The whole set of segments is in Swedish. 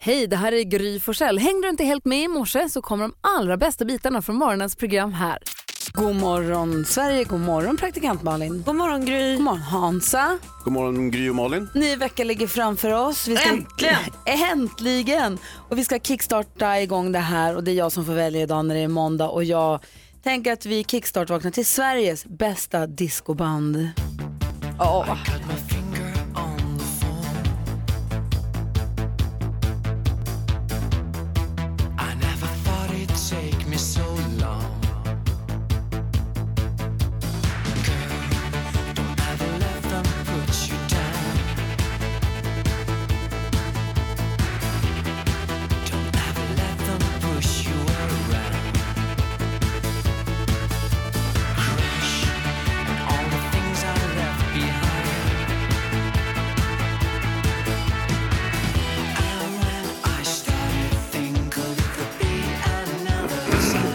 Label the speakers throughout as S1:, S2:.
S1: Hej, det här är Gry Forssell. Hängde du inte helt med i morse så kommer de allra bästa bitarna från morgonens program här. God morgon Sverige, god morgon praktikant Malin.
S2: God morgon Gry.
S1: God morgon Hansa.
S3: God morgon Gry och Malin.
S1: Ny vecka ligger framför oss. Vi ska...
S2: Äntligen!
S1: Äntligen! Och vi ska kickstarta igång det här och det är jag som får välja idag när det är måndag och jag tänker att vi kickstart-vaknar till Sveriges bästa discoband. Åh.
S4: I never thought it'd take me so long. Girl, don't ever let them put you down. Don't ever let them push you around. Crush and all the things I left behind. And when I started to think of it could be another time. Oh,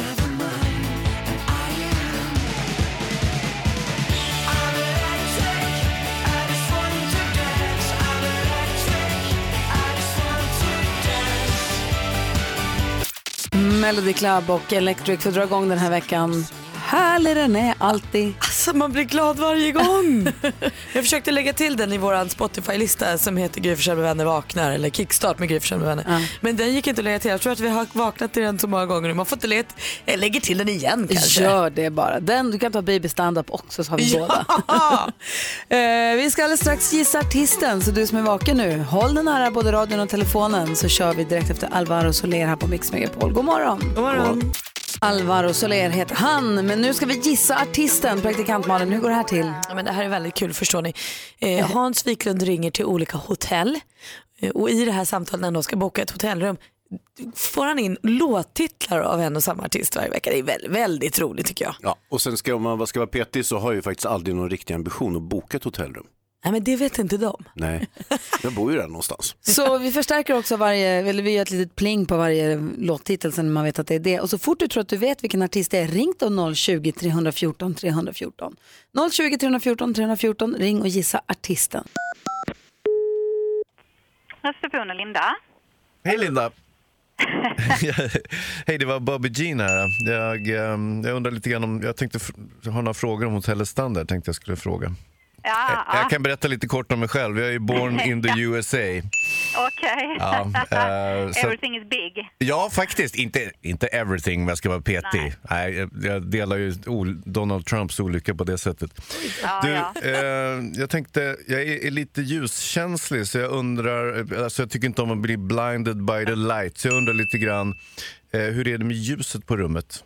S4: never mind. And I am. I'm electric. I just want to dance. I'm electric. I just want to dance.
S1: Melody Club och Electric får dra igång den här veckan. Härlig den är alltid.
S2: Alltså man blir glad varje gång. jag försökte lägga till den i vår Spotify-lista som heter Gry Forssell med vänner vaknar eller Kickstart med Gry Forssell med vänner. Men den gick inte att lägga till. Jag tror att vi har vaknat till den så många gånger nu. Man får inte lägga till. Jag lägger till den igen kanske.
S1: Gör det bara. Den, du kan ta Baby Stand-Up också så har vi båda.
S2: Ja.
S1: Eh, vi ska alldeles strax gissa artisten så du som är vaken nu, håll den nära både radion och telefonen så kör vi direkt efter Alvaro Soler här på Mix Megapol. God morgon!
S2: God morgon.
S1: Alvaro Soler heter han, men nu ska vi gissa artisten. Praktikant Malin, hur går det här till?
S2: Ja, men det här är väldigt kul förstår ni. Eh, Hans Wiklund ringer till olika hotell eh, och i det här samtalet när de ska boka ett hotellrum får han in låttitlar av en och samma artist varje vecka. Det är väldigt, väldigt roligt tycker jag.
S3: Ja, och sen ska, om man ska vara petig så har jag ju faktiskt aldrig någon riktig ambition att boka ett hotellrum.
S2: Nej men det vet inte de.
S3: Nej, jag bor ju där någonstans.
S1: Så vi förstärker också varje, eller vi gör ett litet pling på varje låttitel så när man vet att det är det. Och så fort du tror att du vet vilken artist det är, ring då 020-314 314. 020 314 314, ring och gissa artisten.
S5: Östersund och Linda.
S6: Hej Linda! Hej, det var Bobby Jean här. Jag, ehm, jag undrar lite grann om, jag tänkte fr- ha några frågor om hotellets standard, tänkte jag skulle fråga.
S5: Ja,
S6: Jag, jag kan berätta lite kort om mig själv. Jag är ju born in the USA.
S5: ja, okej.
S6: Ja, eh, så-
S5: Everything is big.
S6: Ja, faktiskt. Inte, inte everything, men jag ska vara petig. Nej. jag- jag delar ju ol- Donald Trumps olycka på det sättet. du,
S5: ja.
S6: Eh, jag tänkte, jag är, är lite ljuskänslig, så jag undrar... eh, Alltså jag tycker inte om att bli blinded by the light, så jag undrar lite grann, eh, hur är det med ljuset på rummet?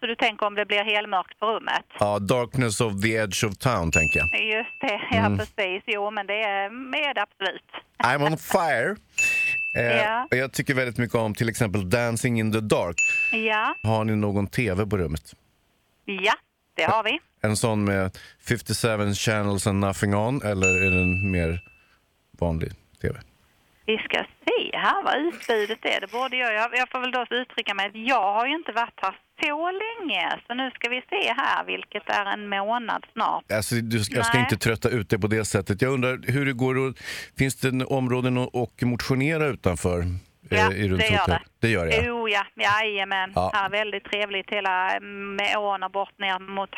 S5: Så du tänker om det blir helmörkt på rummet?
S6: Ja, darkness of the edge of town, tänker jag.
S5: Just det, ja
S6: Mm.
S5: precis. Jo, men det är med absolut.
S6: I'm on fire. Eh,
S5: Ja.
S6: och Jag tycker väldigt mycket om till exempel Dancing in the dark.
S5: Ja,
S6: Har ni någon tv på rummet?
S5: ja, det har vi.
S6: En sån med 57 channels and nothing on eller är den mer vanlig tv?
S5: Vi ska se här vad utbudet är. Det borde jag, jag, jag får väl då uttrycka mig. Jag har ju inte varit här så länge, så nu ska vi se här, vilket är en månad snart.
S6: Alltså, du, jag ska
S5: Nej.
S6: inte trötta ut dig på det sättet. Jag undrar hur det går att, Finns det en områden att och motionera utanför? eh,
S5: Ja,
S6: i runt
S5: det gör
S6: hotell?
S5: det.
S6: Det gör det, ja.
S5: Jo, Oh, ja. Jajamän.
S6: Ja.
S5: Här är väldigt trevligt hela mm, med ån och bort ner mot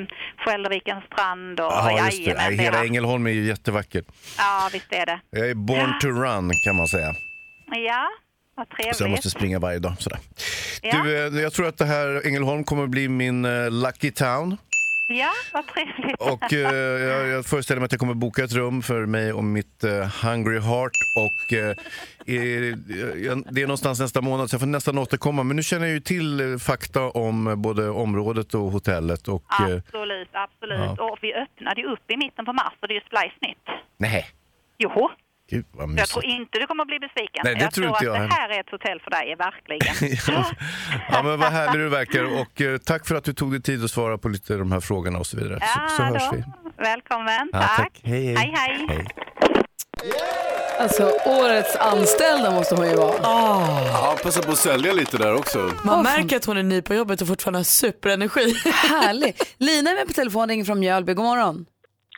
S5: um, Skäldervikens strand. Och,
S6: Jaha, just det.
S5: jajamän,
S6: Nej,
S5: det är
S6: hela
S5: här.
S6: Ängelholm är ju jättevackert.
S5: Ja, visst är det.
S6: Jag är born to run, kan man säga.
S5: Ja, vad
S6: Så jag
S5: trevligt.
S6: måste springa varje dag. Sådär.
S5: Ja.
S6: Du, eh, jag tror att det här Ängelholm kommer bli min eh, lucky town.
S5: Ja, vad trevligt.
S6: Och eh, jag, jag föreställer mig att jag kommer boka ett rum för mig och mitt eh, hungry heart. Och eh, eh, jag- det är någonstans nästa månad så jag får nästan återkomma. Men nu känner jag ju till eh, fakta om eh, både området och hotellet. Och, eh,
S5: Absolut, absolut. Och vi öppnade ju upp i mitten på mars och det är ju splice nytt.
S6: nej,
S5: Joho,
S6: gud vad
S5: jag
S6: mysigt.
S5: tror inte du kommer att bli besviken.
S6: Nej, det
S5: jag
S6: tror
S5: tror,
S6: inte jag
S5: att
S6: heller.
S5: det här är ett hotell för dig, verkligen.
S6: ja. ja, men vad härlig du verkar. Och eh, tack för att du tog dig tid att svara på lite de här frågorna och så vidare. så, så
S5: Ja,
S6: hörs
S5: då.
S6: vi.
S5: Välkommen,
S6: Ja,
S5: tack.
S6: tack. Hej, hej.
S5: hej, hej.
S6: Hej.
S1: Alltså årets anställda måste hon ju vara.
S3: Ja, passa på att sälja lite där också.
S2: Ah. Man märker att hon är ny på jobbet och fortfarande har superenergi.
S1: Härlig. Lina är med på telefon, ringer från Mjölby. God morgon.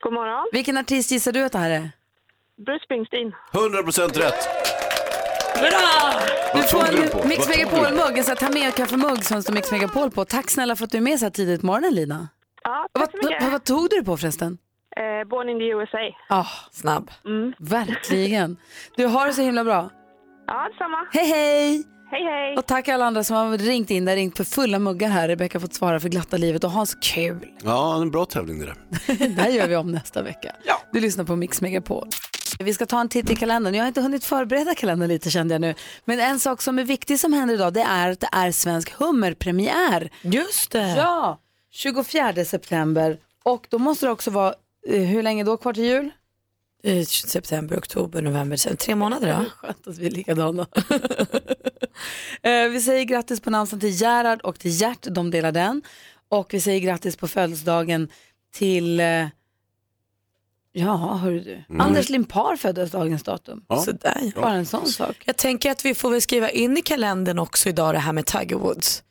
S7: God morgon.
S1: Vilken artist gissar du att det här är?
S7: Bruce Springsteen.
S3: 100% rätt!
S2: Bra!
S1: Du får
S3: tog du på?
S1: en Mix
S3: Vad tog du
S1: Megapol-mugg, en sån här ta med och kaffemugg som det står Mix Megapol på. Tack snälla för att du är med så här tidigt på morgonen Lina.
S7: Ja,
S1: Vad,
S7: tack så mycket.
S1: vad, vad tog du det på förresten?
S7: Eh, Born in the USA.
S1: Ja,
S2: Snabb.
S7: Mm.
S1: verkligen. Du har det så himla bra.
S7: Ja, detsamma.
S1: Hej hej!
S7: Hej, hej.
S1: Och tack alla andra som har ringt in, där ringt för fulla muggar här. Rebecka har fått svara för glatta livet och ha så kul.
S3: Ja, en bra tävling det där.
S1: Det här gör vi om nästa vecka. Du lyssnar på Mix Megapol. Vi ska ta en titt i kalendern. Jag har inte hunnit förbereda kalendern lite kände jag nu. Men en sak som är viktig som händer idag det är att det är svensk hummerpremiär.
S2: Just det.
S1: Ja, 24 september. Och då måste det också vara, eh, hur länge då kvar till jul?
S2: Eh, September, oktober, november, december. Tre månader då?
S1: Skönt att vi är likadana. Eh, vi säger grattis på namnsdagen till Gerhard och till Gert, de delar den. Och vi säger grattis på födelsedagen till, eh, ja hörru du, Anders Limpar föddes dagens datum.
S3: Mm. Ja.
S2: Sådär ja.
S1: Bara en sån sak.
S2: Jag tänker att vi får väl skriva in i kalendern också idag det här med Tiger Woods.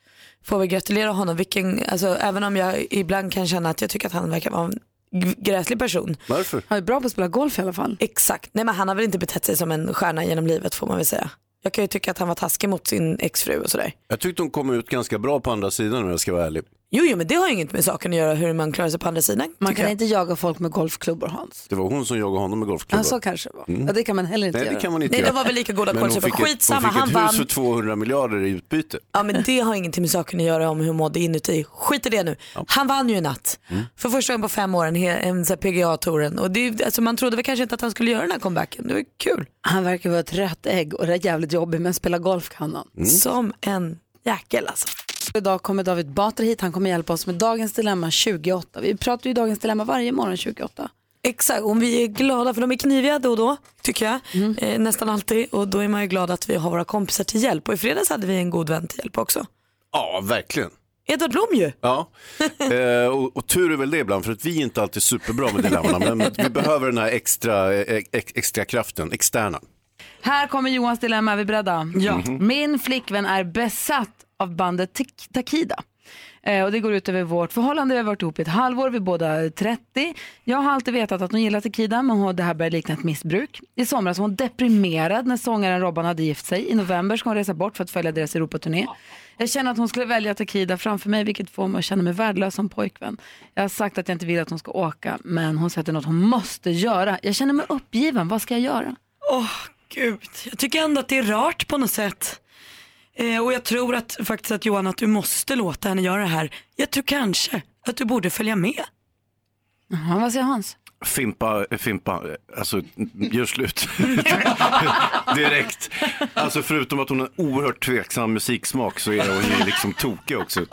S2: Får vi gratulera honom, vilken, alltså, även om jag ibland kan känna att jag tycker att han verkar vara en g- gräslig person.
S3: Varför?
S1: Han är bra på att spela golf i alla fall.
S2: Exakt, nej men han har väl inte betett sig som en stjärna genom livet får man väl säga. Jag kan ju tycka att han var taskig mot sin exfru och sådär.
S3: Jag tyckte hon kom ut ganska bra på andra sidan om jag ska vara ärlig.
S2: Jo, jo men det har ju inget med saken att göra hur man klarar sig på andra sidan.
S1: Man
S2: tycker
S1: kan
S2: jag.
S1: inte jaga folk med golfklubbor Hans.
S3: Det var hon som jagade honom med golfklubban.
S1: Ja, så kanske det var. Ja, det kan man heller inte
S3: Mm. Nej,
S1: göra.
S3: det kan man inte
S2: Nej,
S3: göra.
S2: de var väl lika goda
S3: Men hon
S2: kålsupor.
S3: fick, ett, hon
S2: Skitsamma,
S3: fick
S2: han
S3: ett hus för
S2: vann.
S3: 200 miljarder i utbyte.
S2: Ja men det har ingenting med saken att göra om hur hon mådde inuti. Skit i det nu. Han vann ju i natt.
S3: Mm.
S2: För första gången på fem år en, he- en PGA-touren. Och det, är- alltså, man trodde väl kanske inte att han skulle göra den här comebacken. Det var kul.
S1: Han verkar vara ett rött ägg och det är jävligt jobbigt men spela golf kan han.
S2: Som en jäkel alltså.
S1: Idag kommer David Batra hit, han kommer hjälpa oss med Dagens Dilemma 28. Vi pratar ju Dagens Dilemma varje morgon 28.
S2: Exakt, om vi är glada för de är kniviga då och då tycker jag.
S1: Mm.
S2: Eh, nästan alltid. Och då är man ju glad att vi har våra kompisar till hjälp. Och i fredags hade vi en god vän till hjälp också.
S3: Ja, verkligen.
S2: Edvard Blom ju.
S3: Ja, eh, och, och tur är väl det ibland för att vi är inte alltid superbra med dilemmana men vi behöver den här extra, eh, ex, extra kraften, externa.
S1: Här kommer Johans Dilemma, är vi beredda? Ja. Min flickvän är besatt av bandet Tik- Takida. Eh, och det går ut över vårt förhållande. Vi har varit ihop i ett halvår, vi är båda 30. Jag har alltid vetat att hon gillar Takida, men hon, det här börjar likna ett missbruk. I somras var hon deprimerad när sångaren Robban hade gift sig. I november ska hon resa bort för att följa deras Europaturné. Jag känner att hon skulle välja Takida framför mig, vilket får mig att känna mig värdelös som pojkvän. Jag har sagt att jag inte vill att hon ska åka, men hon säger att det är något hon måste göra. Jag känner mig uppgiven, vad ska jag göra?
S2: Åh gud, jag tycker ändå att det är rart på något sätt. Eh, och jag tror att faktiskt att Johan att du måste låta henne göra det här. Jag tror kanske att du borde följa med.
S1: Jaha, vad säger Hans?
S6: Fimpa, eh, fimpa, alltså gör slut. Direkt. Alltså förutom att hon har oerhört tveksam musiksmak så är hon ju liksom tokig också.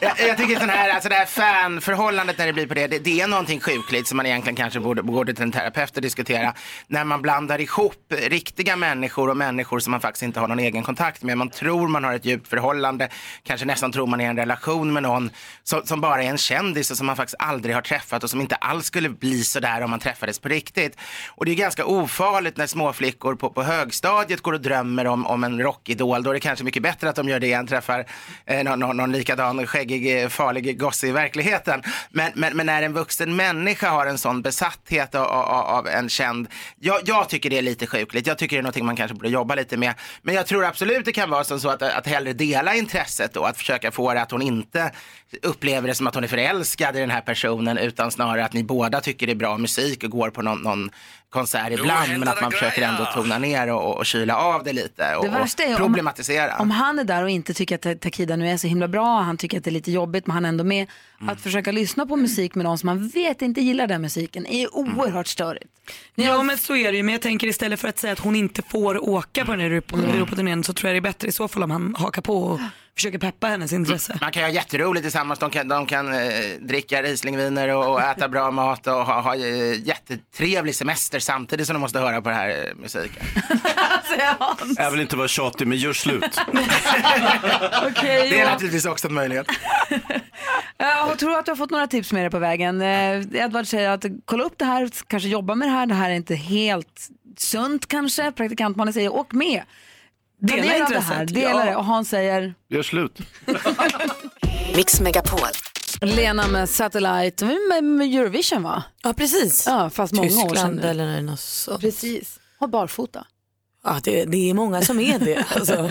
S8: Jag, jag tycker sån här, alltså det här fanförhållandet när det blir på det, det, det är någonting sjukligt som man egentligen kanske borde gå till en terapeut och diskutera. När man blandar ihop riktiga människor och människor som man faktiskt inte har någon egen kontakt med. Man tror man har ett djupt förhållande, kanske nästan tror man är i en relation med någon som, som bara är en kändis och som man faktiskt aldrig har träffat och som inte alls skulle bli sådär om man träffades på riktigt. Och det är ganska ofarligt när småflickor på, på högstadiet går och drömmer om, om en rockidol. Då är det kanske mycket bättre att de gör det än träffar eh, någon, någon, någon likadan skäggig, eh, farlig gosse i verkligheten. Men, men, men när en vuxen människa har en sån besatthet av, av, av en känd, jag, jag tycker det är lite sjukligt. Jag tycker det är någonting man kanske borde jobba lite med. Men jag tror absolut det kan vara som så att, att hellre dela intresset då, att försöka få det att hon inte upplever det som att hon är förälskad i den här personen utan snarare att ni båda tycker det är bra musik och går på någon, någon konsert ibland men att man försöker ändå tona ner och, och, och kyla av det lite och,
S1: Det värsta är
S8: och
S1: om-
S8: problematisera.
S1: Om han är där och inte tycker att Ta- Takida nu är så himla bra, han tycker att det är lite jobbigt men han är ändå med. Att försöka lyssna på musik med någon som man vet inte gillar den musiken är oerhört störigt.
S9: Ja men så är det ju. Men jag tänker istället för att säga att hon inte får åka på den här Europa-
S2: Mm.
S9: Europaturnén så tror jag det är bättre i så fall om han hakar på och försöker peppa hennes intresse.
S8: Mm. Man kan ha jätteroligt tillsammans. De kan, de kan eh, dricka Rieslingviner och, och äta bra mat och ha, ha eh, jättetrevlig semester samtidigt som de måste höra på den här eh, musiken.
S3: Jag vill inte vara tjatig men gör slut.
S1: Okej
S8: Det är
S1: Johan,
S8: naturligtvis också en möjlighet.
S1: jag tror att du har fått några tips med dig på vägen. Eh, Edvard säger att kolla upp det här, kanske jobba med det här, det här är inte helt sunt kanske. Praktikantmannen säger åk med. Ta del av det här, dela det. Och Hans säger,
S6: Gör slut.
S10: Mix Megapol.
S1: Lena med Satellite, med, med Eurovision va?
S2: Ja, precis.
S1: Ja, fast många år sedan
S2: Tyskland
S1: nu.
S2: eller något sånt.
S1: Precis, och barfota.
S2: Ja, det, det är många som är det. Alltså.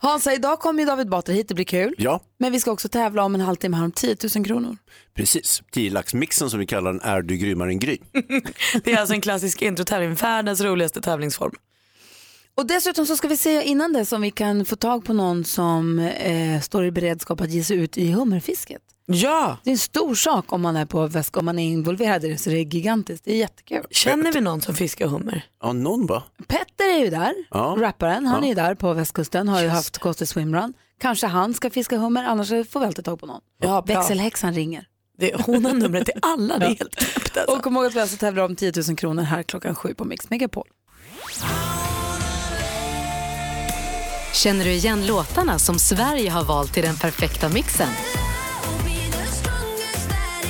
S1: Hansa, idag kommer ju David Batra hit, det blir kul.
S3: Ja,
S1: Men vi ska också tävla om en halvtimme här om 10 000 kronor.
S3: precis. Tiolaxmixen som vi kallar den är du grymmare än Gry.
S2: Det är alltså en klassisk introtävling, världens roligaste tävlingsform.
S1: Och dessutom så ska vi se innan det om vi kan få tag på någon som eh, står i beredskap att ge sig ut i hummerfisket.
S2: Ja,
S1: Det är en stor sak om man är på väst, om man är involverad i det så det är gigantiskt. Det är jättekul.
S2: känner vi någon som fiskar hummer?
S3: Ja, någon va?
S1: Petter är ju där,
S3: Ja.
S1: rapparen. Han
S3: Ja.
S1: är ju där på västkusten, har ju haft Ghost och Swimrun. Kanske han ska fiska hummer, annars får vi alltid tag på någon.
S2: Ja, bra.
S1: Växelhäxan ringer.
S2: Det, hon har numret till alla, det är helt knäppt alltså.
S1: Och kom ihåg att vi alltså tävlar om 10 000 kronor här klockan sju på Mix Megapol.
S10: Känner du igen låtarna som Sverige har valt till den perfekta mixen?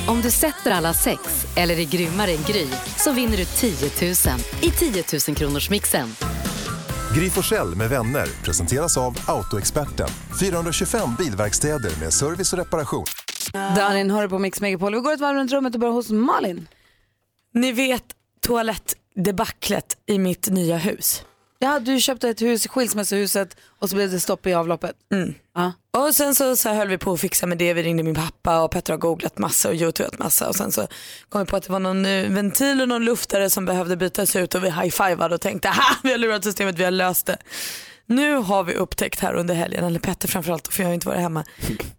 S10: Om du sätter alla sex, eller är grymmare än Gry, så vinner du 10 000 i 10 000 kronors mixen.
S11: Gry Forssell med vänner presenteras av Autoexperten. 425 bilverkstäder med service och reparation.
S1: Darin hör du på Mix Megapol. Vi går ett varv runt rummet och börjar hos Malin.
S2: Ni vet toalettdebaclet i mitt nya hus.
S1: Ja, du köpte ett hus i skilsmässohuset och så blev det stopp i avloppet. Ja.
S2: Mm. Och sen så, så här höll vi på att fixa med det. Vi ringde min pappa och Petter har googlat massa och youtubat massa. Och sen så kom vi på att det var någon eh, ventil och någon luftare som behövde bytas ut och vi high-fivade och tänkte ha vi har lurat systemet, vi har löst det. Nu har vi upptäckt här under helgen, eller Petter framförallt, för jag har inte varit hemma,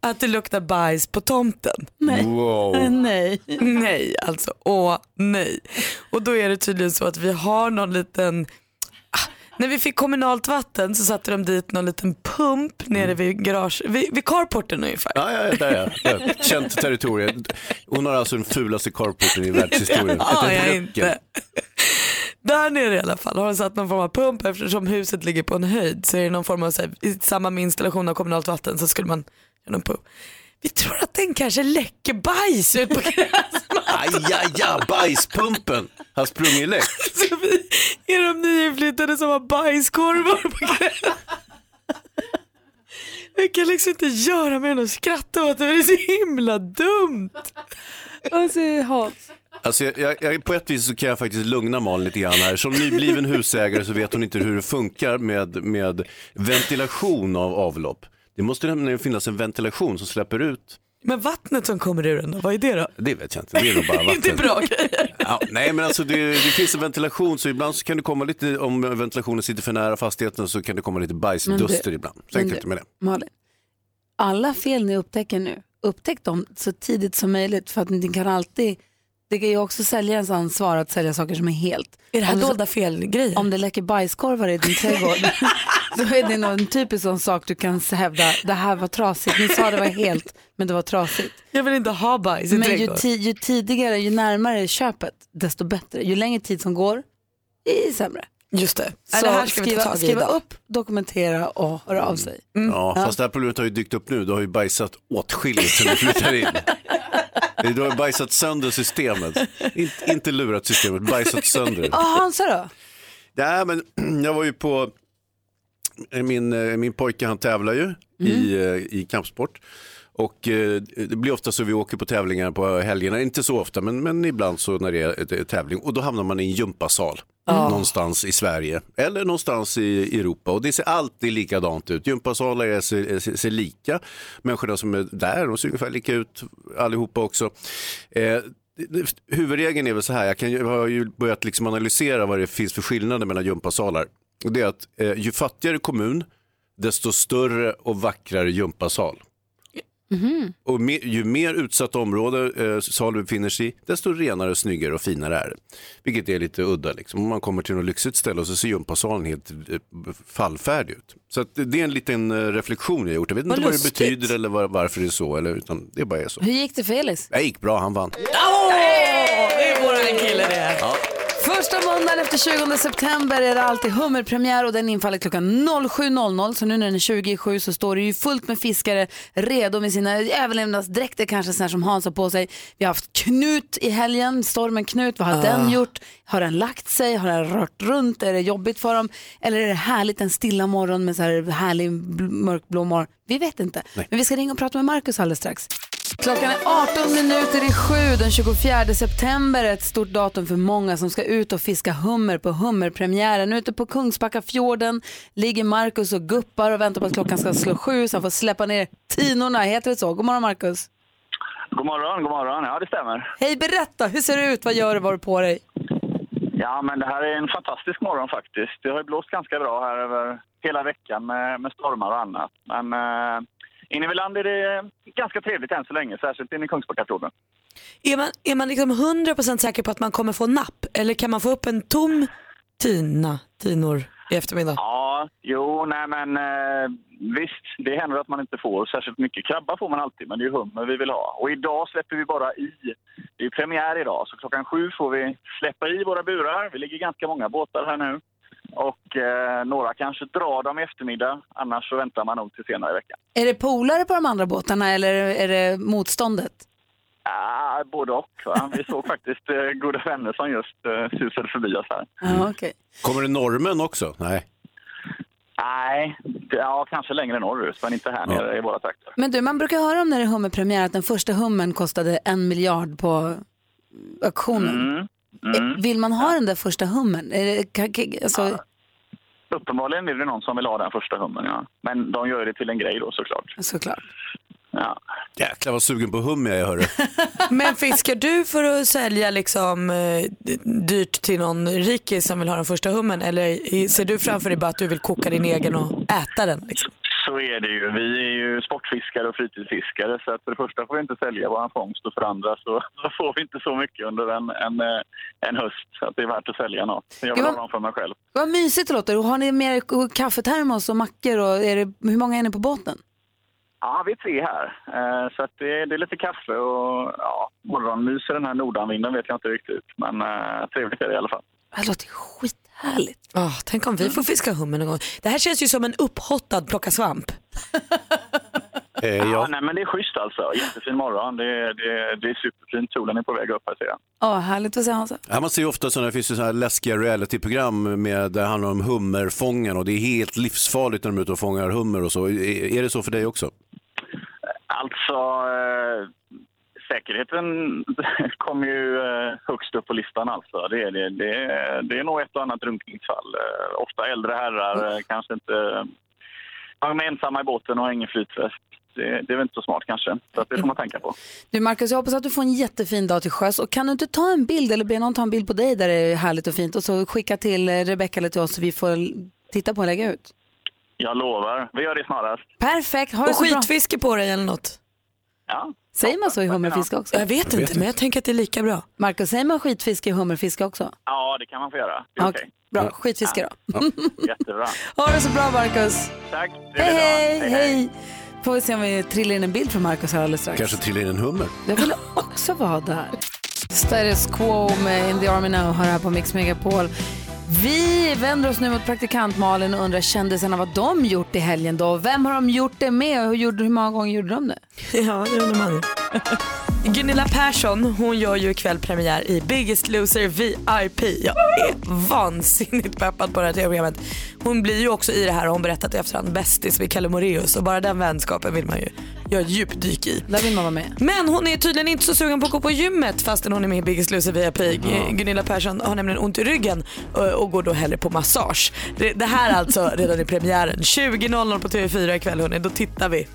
S2: att det luktar bajs på tomten.
S3: Wow.
S1: Nej.
S2: Nej, alltså åh nej. Och då är det tydligen så att vi har någon liten Ah, när vi fick kommunalt vatten så satte de dit någon liten pump nere vid, garage, vid, vid carporten ungefär.
S3: Ja, ja, ja, där är jag. Där. Känt territorium. Hon har alltså den fulaste carporten i världshistorien.
S2: Det har jag
S3: Röcken.
S2: inte. Där nere i alla fall har de satt någon form av pump eftersom huset ligger på en höjd så är det någon form av, så här, i samband med installation av kommunalt vatten så skulle man göra någon pump. Vi tror att den kanske läcker bajs ut på gräsmattan.
S3: Aj, aj, aj, bajspumpen har sprungit läck.
S2: Så vi är de nyinflyttade som har bajskorvar på kvällen. Vi kan liksom inte göra mer än att skratta åt det, det är så himla dumt.
S3: Alltså, jag, jag, jag, på ett vis så kan jag faktiskt lugna Malin lite grann här. Som nybliven husägare så vet hon inte hur det funkar med, med ventilation av avlopp. Det måste nämligen finnas en ventilation som släpper ut.
S2: Men vattnet som kommer ur den då, vad är det då?
S3: Det vet jag inte, det är nog bara vatten.
S2: Inte bra grejer.
S3: Ja, nej men alltså det, det finns en ventilation så ibland så kan det komma lite, om ventilationen sitter för nära fastigheten så kan det komma lite bajsduster
S1: Men du-
S3: ibland. Så enkelt
S1: du-
S3: med det.
S1: Malin, alla fel ni upptäcker nu, upptäck dem så tidigt som möjligt för att ni kan alltid, det är ju också säljarens ansvar att sälja saker som är helt.
S2: Är det här
S1: Om
S2: dolda felgrejer?
S1: Om det läcker bajskorvar i din trädgård, då är det någon typisk sån sak du kan hävda, det här var trasigt, ni sa det var helt, men det var trasigt.
S2: Jag vill inte ha bajs i
S1: Men ju,
S2: trädgården.
S1: ti- ju tidigare, ju närmare köpet, desto bättre. Ju längre tid som går, i sämre.
S2: Just det.
S1: Så
S2: Så det här ska
S1: skriva,
S2: vi ta tag i
S1: skriva
S2: idag.
S1: upp, dokumentera och höra av sig.
S3: Mm. Ja, fast det här problemet har ju dykt upp nu. Du har ju bajsat åtskilligt sen du flyttade in. Du har bajsat sönder systemet. In, inte lurat systemet, bajsat sönder det.
S1: Ja, Hansa då?
S3: Nej, men jag var ju på, min, eh, min pojke han tävlar ju i, eh, i kampsport. Och eh, det blir ofta så vi åker på tävlingar på helgerna, inte så ofta men, men ibland så när det är ett- ett tävling och då hamnar man i en gympasal någonstans i Sverige eller någonstans i Europa och det ser alltid likadant ut. Gympasalar är- ser, ser, ser lika, människorna som är där de ser ungefär lika ut allihopa också. Eh, det- Huvudregeln är väl så här, jag, kan, ju- jag har ju börjat liksom analysera vad det finns för skillnader mellan gympasalar. Och det är att eh, ju fattigare kommun, desto större och vackrare gympasal.
S1: Mhm.
S3: Och me, ju mer utsatt område eh, sal du befinner sig i, desto renare, snyggare och finare är det. Vilket är lite udda. Liksom. Om man kommer till något lyxigt ställe och så ser gympasalen helt eh, fallfärdig ut. Så att det är en liten eh, reflektion jag gjort. Jag vet inte vad det
S2: lustigt.
S3: betyder eller var, varför det är så, eller, utan det bara är så.
S1: Hur gick det för Elis?
S3: Det gick bra, han vann.
S2: Det är våran kille det.
S1: Första måndagen efter 20 september är det alltid hummerpremiär och den infaller klockan 07.00 så nu när den är 27 så står det ju fullt med fiskare redo med sina överlevnadsdräkter kanske sådana som Hans har på sig. Vi har haft Knut i helgen, stormen Knut, vad har den gjort? Har den lagt sig? Har den rört runt? Är det jobbigt för dem? Eller är det härligt en stilla morgon med så här härlig bl- mörkblå morgon? Vi vet inte. Men vi ska ringa och prata med Markus alldeles strax. Klockan är 18 minuter i sju den 24 september. Ett stort datum för många som ska ut och fiska hummer på hummerpremiären. Ute på Kungsbackafjorden ligger Marcus och guppar och väntar på att klockan ska slå sju så han får släppa ner tinorna. Heter det så? God morgon Marcus.
S12: God morgon, god morgon. Ja, det stämmer.
S1: Hej, berätta. Hur ser det ut? Vad gör du? Vad har du på dig?
S12: Ja, men det här är en fantastisk morgon faktiskt. Det har ju blåst ganska bra här över hela veckan med, med stormar och annat. Men eh, inne vid land är det ganska trevligt än så länge, särskilt inne i Kungsbackafjorden.
S2: Är man, är man liksom 100% säker på att man kommer få napp eller kan man få upp en tom tina, tinor i eftermiddag?
S12: Ja, jo, nej men eh, visst, det händer att man inte får särskilt mycket. Krabba får man alltid, men det är ju hummer vi vill ha. Och idag släpper vi bara i. Det är ju premiär idag, så klockan sju får vi släppa i våra burar. Vi ligger ganska många båtar här nu. Och eh, några kanske drar dem i eftermiddag, annars så väntar man nog till senare i veckan.
S1: Är det polare på de andra båtarna eller är det motståndet?
S12: Ah, både och. Va? Vi såg faktiskt eh, goda vänner som just eh, susade förbi oss här.
S1: Ja, okej.
S3: Kommer det normen också? Nej.
S12: Nej, det- ja, kanske längre norrut, men inte här nere i våra trakter.
S1: Men du, man brukar höra om när det är hummerpremiär att den första hummen kostade en miljard på auktionen.
S12: Mm,
S2: Mm.
S1: Eh, Vill man ha den där första hummen? Är det, ka- ka- alltså,
S12: Uppenbarligen är det någon som vill ha den första hummen, ja. Men de gör det till en grej då såklart.
S1: Såklart.
S12: Ja.
S3: Jäklar vad sugen på hummer jag är, hörru.
S2: Men fiskar du för att sälja liksom eh, dyrt till någon rikis som vill ha den första hummen eller i- ser du framför dig bara att du vill koka din egen och äta den? Liksom?
S12: Så är det ju. Vi är ju sportfiskare och fritidsfiskare så att för det första får vi inte sälja vår fångst och för det andra så, så får vi inte så mycket under en, en, eh, en höst så att det är värt att sälja något. Jag vill
S1: Ja.
S12: ha dem för mig själv.
S1: vad mysigt det låter. Och Har ni med er kaffetermos och mackor? Och är det, hur många är ni på båten?
S12: Ja, vi är tre här. Eh, Så att det, är- det är lite kaffe och ja, morgonmys i den här nordanvinden vet jag inte riktigt. Men eh, trevligt är det i alla fall.
S1: Det låter skithärligt.
S2: Ah, tänk om vi får fiska hummer någon gång. Det här känns ju som en upphottad plocka svamp.
S12: ja. nej, men det är schysst alltså. Jättefin morgon. Det, det, det är superfint. Solen är på väg upp här ser jag.
S1: Ja, härligt. Vad säger Hansa?
S3: Ja, man ser ju ofta sådana, det finns ju sådana här läskiga realityprogram med, där det handlar om hummerfångaren och det är helt livsfarligt när de är ute och fångar hummer och så. Är, är det så för dig också?
S12: Alltså, eh, säkerheten kommer ju eh, högst upp på listan alltså. Det är, det, det, det är nog ett och annat drunkningsfall. Eh, ofta äldre herrar, eh, kanske inte... De är ensamma i båten och har ingen flytväst. Det, det är väl inte så smart kanske, så att det får man tänka på.
S1: Du Marcus, jag hoppas att du får en jättefin dag till sjöss. Och kan du inte ta en bild eller be någon ta en bild på dig där det är härligt och fint och så skicka till eh, Rebecca eller till oss så vi får titta på och lägga ut.
S12: Jag lovar, vi gör det snarast.
S1: Perfekt, ha det
S2: Och
S1: så bra.
S2: skitfiske på dig eller något.
S12: Ja.
S1: Säger man så i hummerfiske också?
S2: Jag vet inte men jag tänker att det är lika bra.
S1: Marcus, säger man skitfiske i hummerfiske också?
S12: Ja, det kan man få göra. Det är
S1: Ja,
S12: okej.
S1: Bra, skitfiske då.
S12: Jättebra.
S1: Ha det så bra Marcus.
S12: Tack.
S1: Hej, hej, hej. Får vi se om vi trillar in en bild från Marcus här alldeles strax.
S3: Kanske trillar in en hummer?
S1: Jag vill också vara där. Status quo med In the Army Now hör här på Mix Megapol. Vi vänder oss nu mot praktikant Malin och undrar kändisarna vad de gjort i helgen då. Vem har de gjort det med och hur, gjorde, hur många gånger gjorde de det?
S2: Ja, det undrar man. Gunilla Persson, hon gör ju ikväll premiär i Biggest Loser VIP. Jag är vansinnigt peppad på det här tv-programmet. Hon blir ju också i det här, har hon berättat i efterhand, bästis med Kalle Moreus och bara den vänskapen vill man ju göra ett djupdyk i.
S1: Där vill man vara med.
S2: Men hon är tydligen inte så sugen på att gå på gymmet fastän hon är med i Biggest Loser VIP. Gu- Gunilla Persson har nämligen ont i ryggen ö, och går då hellre på massage. Det- Det här alltså redan i premiären. 20.00 på TV4 ikväll hörni, då tittar vi.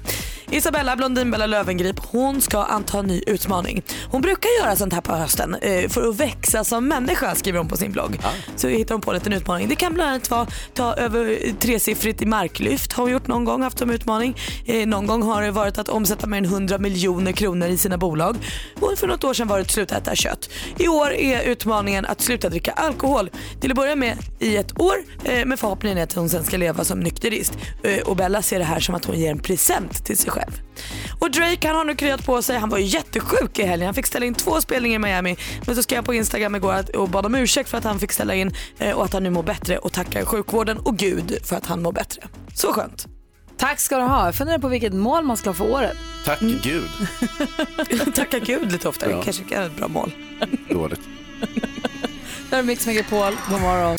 S2: Isabella Blondinbella Lövengrip, hon ska anta en ny utmaning. Hon brukar göra sånt här på hösten eh, för att växa som människa skriver hon på sin blogg. Så hittar hon på en liten utmaning. Det kan bland annat vara ta över tresiffrigt i marklyft har hon gjort någon gång, haft som utmaning. Eh, någon gång har det varit att omsätta mer än 100 miljoner kronor i sina bolag. Och för något år sedan var det att sluta äta kött. I år är utmaningen att sluta dricka alkohol. Till att börja med i ett år eh, men förhoppningen är att hon sen ska leva som nykterist. Eh, och Bella ser det här som att hon ger en present till sig själv. Och Drake han har nu kryat på sig. Han var ju jättesjuk i helgen. Han fick ställa in två spelningar i Miami. Men så skrev jag på Instagram igår att, och bad om ursäkt för att han fick ställa in eh, och att han nu mår bättre och tackar sjukvården och Gud för att han mår bättre. Så skönt.
S1: Tack ska du ha. Jag funderar på vilket mål man ska ha för året.
S3: Tack gud.
S2: Mm. Tacka Gud lite oftare.
S3: Ja.
S2: Kanske kan vara ett bra mål.
S3: Dåligt.
S1: Där är Mix Megapol. God morgon.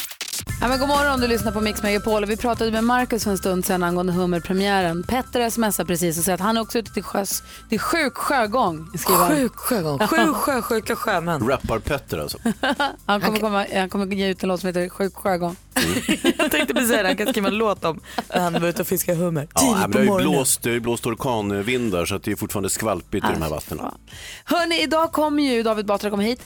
S1: Ja, men god morgon, du lyssnar på Mix Megapol. Och Vi pratade med Markus för en stund sedan angående hummerpremiären. Petter smsar precis och säger att han är också ute till sjöss. Det är sjuk sjögång, skriver han.
S2: Sjuk sjögång. Sju sjösjuka sjömän.
S3: Rappar-Petter alltså.
S1: Han kommer, komma, han kommer ge ut en låt som heter Sjuk sjögång.
S2: Jag tänkte precis säga det, han kan skriva en låt om när han var ute och fiskade hummer.
S3: Ja, nej, men det
S2: på
S3: har ju
S2: morgonen.
S3: blåst, det har ju blåst orkanvindar så att det är fortfarande skvalpigt i de
S2: Ah,
S3: här vattnen.
S1: Hörni, idag kommer ju David Batra komma hit.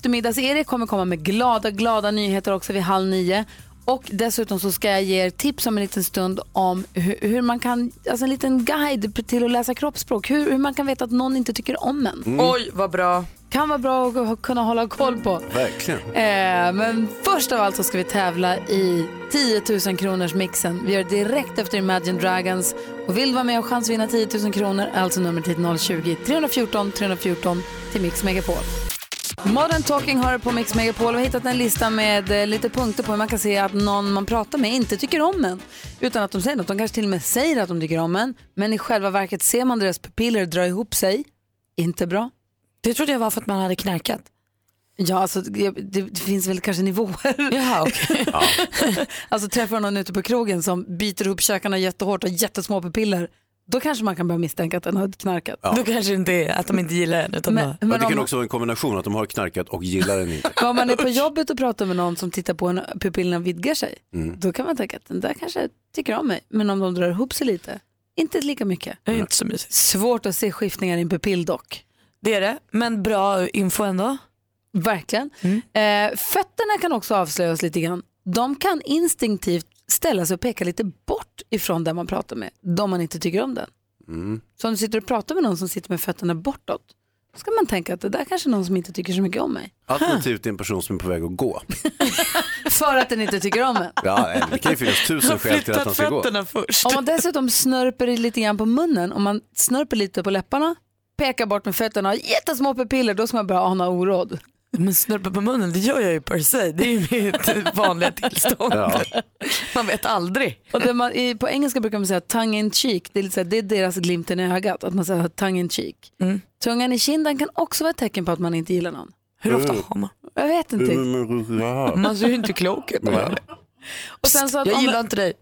S1: Eftermiddags-Erik kommer komma med glada, glada nyheter också vid halv nio. Och dessutom så ska jag ge er tips om en liten stund om hur, hur man kan, alltså en liten guide p- till att läsa kroppsspråk. Hur, hur man kan veta att någon inte tycker om en.
S2: Mm. Oj, vad bra.
S1: Kan vara bra att ha- kunna hålla koll på.
S3: Verkligen.
S1: Eh, men först av allt så ska vi tävla i 10 000 kronors mixen. Vi gör det direkt efter Imagine Dragons. Och vill du vara med och chansvinna 10 000 kronor är alltså nummer till 020 314 314 till Mix Megapol. Modern Talking har det på Mix Megapol och har hittat en lista med eh, lite punkter på hur man kan se att någon man pratar med inte tycker om en. Utan att de säger något. De kanske till och med säger att de tycker om en. Men i själva verket ser man deras pupiller dra ihop sig. Inte bra.
S2: Det trodde jag var för att man hade knarkat.
S1: Ja, alltså det, det det finns väl kanske nivåer.
S2: Jaha, okay.
S1: Alltså träffar någon ute på krogen som biter ihop käkarna jättehårt och har jättesmå pupiller. Då kanske man kan börja misstänka att den har knarkat.
S3: Ja.
S2: Då kanske det inte är att de inte gillar en. Utan
S1: Men-
S2: bara...
S3: Men det
S1: om-
S3: kan också vara en kombination att de har knarkat och gillar den inte.
S1: Men Om man är på jobbet och pratar med någon som tittar på en och pupillerna vidgar sig,
S3: Mm.
S1: då kan man tänka att den där kanske tycker om mig. Men om de drar ihop sig lite, inte lika mycket.
S2: Det är inte så mysigt.
S1: Svårt att se skiftningar i en pupill dock.
S2: Det är det, men bra info ändå. Mm.
S1: Verkligen. Eh, fötterna kan också avslöjas lite grann. De kan instinktivt ställa sig och peka lite bort ifrån den man pratar med, de man inte tycker om den.
S3: Mm.
S1: Så om du sitter och pratar med någon som sitter med fötterna bortåt, då ska man tänka att det där kanske är någon som inte tycker så mycket om mig.
S3: Alternativt är en person som är på väg att gå.
S1: För att den inte tycker om en.
S3: Ja, nej, det kan ju finnas tusen skäl till att han ska gå.
S1: Om man dessutom snörper i lite grann på munnen, om man snörper lite på läpparna, pekar bort med fötterna och har jättesmå pupiller, då ska man börja ana oråd.
S2: Men snörpa på munnen, det gör jag ju per se. Det är ju mitt vanliga tillstånd.
S1: Ja.
S2: Man vet aldrig.
S1: Och det man, i, på engelska brukar man säga tongue in cheek, det är, lite så här, det är deras glimten i ögat, att man säger tongue in cheek.
S2: Mm.
S1: Tungan i kinden kan också vara ett tecken på att man inte gillar någon.
S2: Hur ofta har man?
S1: Jag vet inte.
S2: Man ser ju inte klok ut. när man gör det.
S1: Och sen så att
S2: Jag
S1: om-
S2: gillar inte dig.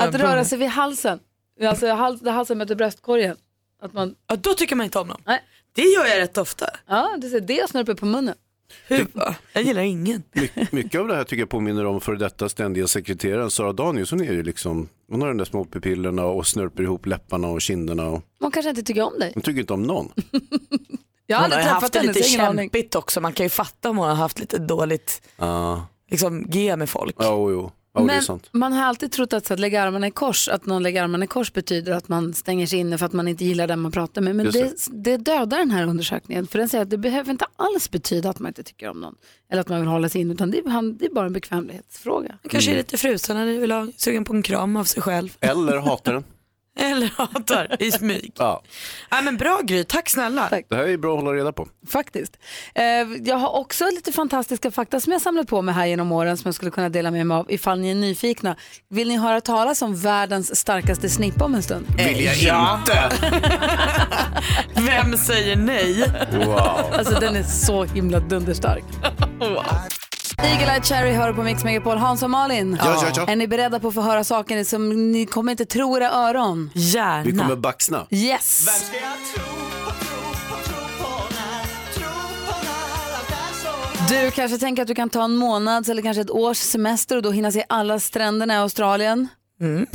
S1: Att röra sig vid halsen, alltså hals, där halsen möter bröstkorgen. Att man...
S2: ja, då tycker man inte om dem.
S1: Nej.
S2: Det gör jag rätt ofta.
S1: Ja, det är det och snurpar på munnen.
S2: Jag gillar ingen.
S3: My- mycket av det här tycker jag påminner om för detta ständiga sekreteraren Sara Danius. Hon är ju liksom, hon har de där små pupillerna och snörper ihop läpparna och kinderna. Och,
S1: Man kanske inte tycker om dig.
S3: hon tycker inte om någon.
S1: Jag har
S2: Hon
S1: aldrig
S2: har ju haft
S1: träffat
S2: det
S1: henne, så
S2: lite
S1: jag har ingen aning.
S2: kämpigt också. Man kan ju fatta om hon har haft lite dåligt
S3: Ja,
S2: liksom, G med folk.
S3: jo, jo. Ja, det är
S1: Men
S3: sant.
S1: man har alltid trott att, så att lägga armarna i kors, att någon lägger armarna i kors betyder att man stänger sig inne för att man inte gillar den man pratar med. Men
S3: Just
S1: det, det dödar den här undersökningen, för den säger att det behöver inte alls betyda att man inte tycker om någon eller att man vill hålla sig inne, utan det är, han- det är bara en bekvämlighetsfråga.
S2: Man kanske är lite frusen eller vill ha sugen på en kram av sig själv.
S3: Eller hatar den.
S2: Eller hatar i smyg.
S3: Ja.
S2: Nej, men bra Gry, tack snälla.
S3: Det här är bra att hålla reda på.
S1: Faktiskt. Eh, jag har också lite fantastiska fakta som jag samlat på mig här genom åren som jag skulle kunna dela med mig av ifall ni är nyfikna. Vill ni höra talas om världens starkaste snippa om en stund?
S2: Eh,
S8: Vill jag inte.
S2: Vem säger nej?
S1: Alltså den är så himla dunderstark. Eagle Eye Cherry hör på Mix Megapol. Hans och Malin,
S3: Ja, ja, ja.
S1: är ni beredda på att få höra saker som ni kommer inte tro era öron?
S2: Gärna.
S3: Vi kommer baxna.
S1: Yes! Du kanske tänker att du kan ta en månads eller kanske ett års semester och då hinna se alla stränderna i Australien.
S2: Mm.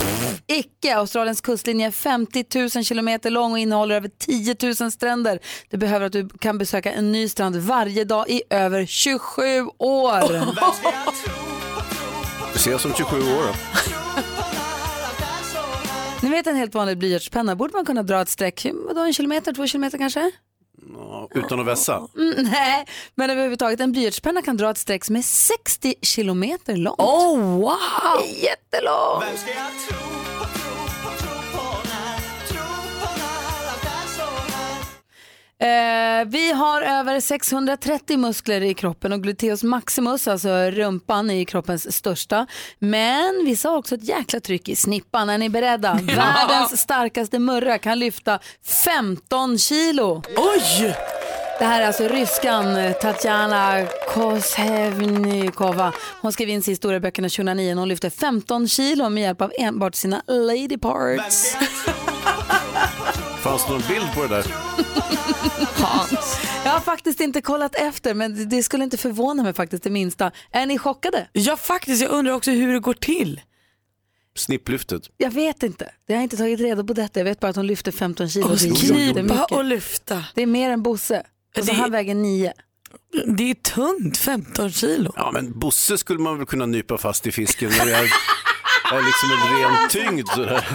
S1: Icke! Australiens kustlinje är 50 000 kilometer lång och innehåller över 10 000 stränder. Det behöver att du kan besöka en ny strand varje dag i över 27 år.
S3: Vi ses om 27 år. Då.
S1: Ni vet en helt vanlig blyertspenna, borde man kunna dra ett streck, vadå en kilometer, två kilometer kanske?
S3: Ja, Utan att vässa.
S1: Mm, nej, men överhuvudtaget en blyertspenna kan dra ett streck som är 60 kilometer långt.
S2: Oh wow!
S1: Det är jättelångt! Eh, vi har över 630 muskler i kroppen och gluteus maximus, alltså rumpan, är ju kroppens största. Men vissa har också ett jäkla tryck i snippan. Är ni beredda? Världens starkaste murra kan lyfta 15 kilo.
S2: Oj!
S1: Det här är alltså ryskan eh, Tatjana Kosevnikova. Hon skrev in sig i historieböckerna 2009 när hon lyfte 15 kilo med hjälp av enbart sina lady parts.
S3: Fanns det någon bild på det där?
S1: Hans. Jag har faktiskt inte kollat efter men det skulle inte förvåna mig faktiskt det minsta. Är ni chockade?
S2: Ja faktiskt, jag undrar också hur det går till.
S3: Snipplyftet.
S1: Jag vet inte. Jag har inte tagit reda på detta. Jag vet bara att hon lyfte 15 kilo.
S2: Och
S1: Det är
S2: knipa
S1: jättemycket.
S2: och lyfta.
S1: Det är mer än Bosse. Och så
S3: Det-
S1: han väger 9.
S2: Det är tungt, 15 kilo.
S3: Ja, men Bosse skulle man väl kunna nypa fast i fisken. när Jag jag är liksom en ren tyngd sådär.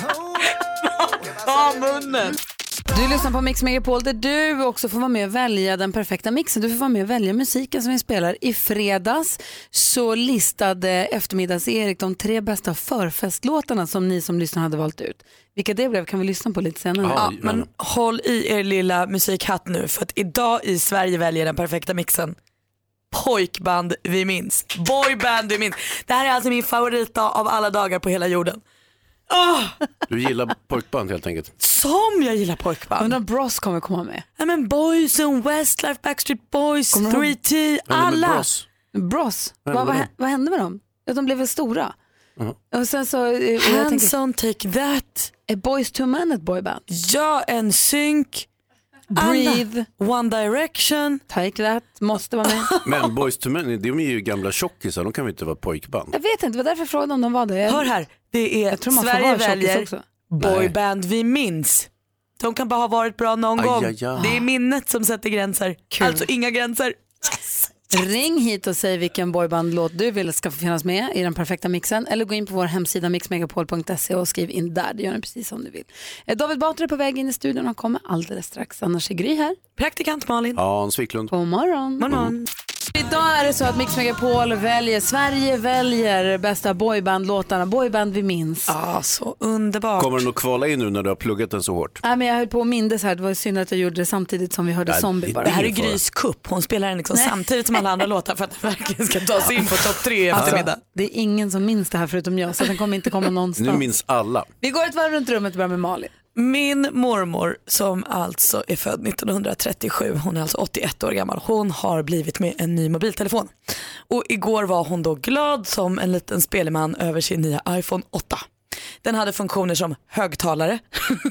S2: Ta munnen!
S1: Du lyssnar på Mix Megapol där du också får vara med och välja den perfekta mixen. Du får vara med och välja musiken som vi spelar. I fredags så listade eftermiddags-Erik de tre bästa förfestlåtarna som ni som lyssnar hade valt ut. Vilka det blev kan vi lyssna på lite senare.
S2: Mm, Ja, men håll i er lilla musikhatt nu för att idag i Sverige väljer den perfekta mixen. Pojkband vi minns, boyband vi minns. Det här är alltså min favoritdag av alla dagar på hela jorden. Ah, Åh,
S3: Du gillar pojkband helt enkelt.
S2: som jag gillar pojkband.
S1: Undrar om Bros kommer komma med.
S2: Ja, men Boys and Westlife, Backstreet Boys, 3T, alla.
S1: Bros?
S2: Vad
S1: Vad,
S2: hände
S1: vad,
S2: med
S1: hä- vad hände med dem? Ja, de blev väl stora? Och sen så...
S2: Hanson, take that.
S1: Är Boys to Men ett boyband?
S2: Ja, en synk.
S1: Breathe.
S2: One Direction.
S1: Take that, måste vara med.
S3: Men Boys to Men, de är ju gamla tjockisar, de kan väl inte vara pojkband?
S1: Jag vet inte, det var därför jag frågade om de var det. Jag...
S2: Hör här, det är
S1: tror man får
S2: Sverige
S1: vara tjockis
S2: väljer
S1: också.
S2: boyband vi minns. De kan bara ha varit bra någon
S1: Aj,
S2: gång.
S1: aj, aj.
S2: Det är minnet som sätter gränser. Alltså inga gränser.
S1: Ring hit och säg vilken boybandlåt du vill ska få finnas med i den perfekta mixen eller gå in på vår hemsida mixmegapol.se och skriv in där. Det gör ni precis som du vill. Eh, David Batra är på väg in i studion och kommer alldeles strax. Annars är Gry här.
S2: Praktikant Malin.
S3: Hans Wiklund. Mm.
S1: God morgon.
S2: morgon.
S1: Idag är det så att Mix Megapol väljer, Sverige väljer bästa boybandlåtarna, boyband vi minns.
S2: Ah, så underbart.
S3: Kommer den att kvala in nu när du har pluggat den så hårt?
S1: Nej, men jag höll på att mindes här, det var synd att jag gjorde det samtidigt som vi hörde
S3: Nej,
S1: Zombie bara.
S3: det här är
S2: Det är Grys kupp. Hon spelar den liksom samtidigt som alla andra låtar för att den verkligen ska ta sig in på topp tre i eftermiddag.
S1: Alltså, det är ingen som minns det här förutom jag så den kommer inte komma
S3: Nu
S1: någonstans.
S3: minns alla.
S1: Vi går ett varv runt rummet och börjar med Malin.
S2: Min mormor som alltså är född 1937, hon är alltså 81 år gammal, hon har blivit med en ny mobiltelefon. Och igår var hon då glad som en liten spelman över sin nya iPhone 8. Den hade funktioner som högtalare.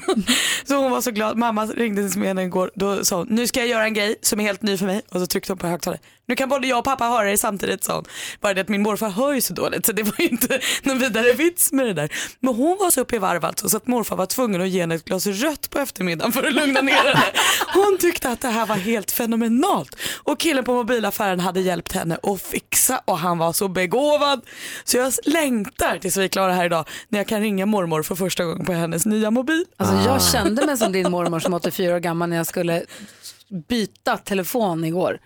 S2: så hon var så glad. Mamma ringde till smeden igår. Då sa hon, nu ska jag göra en grej som är helt ny för mig. Och så tryckte hon på högtalare. Nu kan både jag och pappa höra det samtidigt sa hon. Bara det att min morfar hör ju så dåligt så det var ju inte någon vidare vits med det där. Men hon var så uppe i varv alltså så att morfar var tvungen att ge henne ett glas rött på eftermiddagen för att lugna ner henne. Hon tyckte att det här var helt fenomenalt. Och killen på mobilaffären hade hjälpt henne att fixa och han var så begåvad. Så jag längtar tills vi är klara här idag när jag kan ringa mormor för första gången på hennes nya mobil.
S1: Alltså,
S3: Ah.
S1: jag kände mig som din mormor som är 84 år gammal när jag skulle byta telefon igår.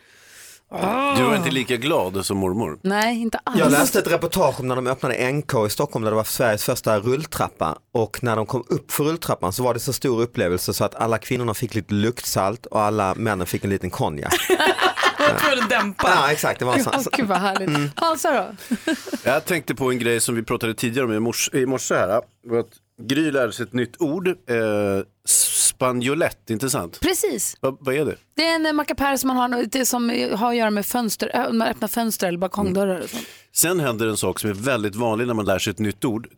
S1: Ah.
S3: Du var inte lika glad som mormor.
S1: Nej, inte alls.
S7: Alltså-
S13: Jag läste ett reportage om när de öppnade NK i Stockholm där det var Sveriges första rulltrappa och när de kom upp för rulltrappan så var det så stor upplevelse så att alla kvinnorna fick lite luktsalt och alla männen fick en liten konjak.
S2: Jag tror det dämpar.
S13: Ja exakt, det var en sån.
S1: Åh, Gud vad härligt.
S3: Mm.
S1: Hansa då?
S3: Jag tänkte på en grej som vi pratade tidigare om i morse, i morse här. Var att Gry lärde sig ett nytt ord. Eh, spanjolett, inte sant?
S1: Precis.
S3: Vad- vad är det?
S1: Det är en eh, mackapär som man har, det som har att göra med fönster, ö, man öppnar fönster eller balkongdörrar och
S3: Mm.
S1: sånt.
S3: Sen händer en sak som är väldigt vanlig när man lär sig ett nytt ord.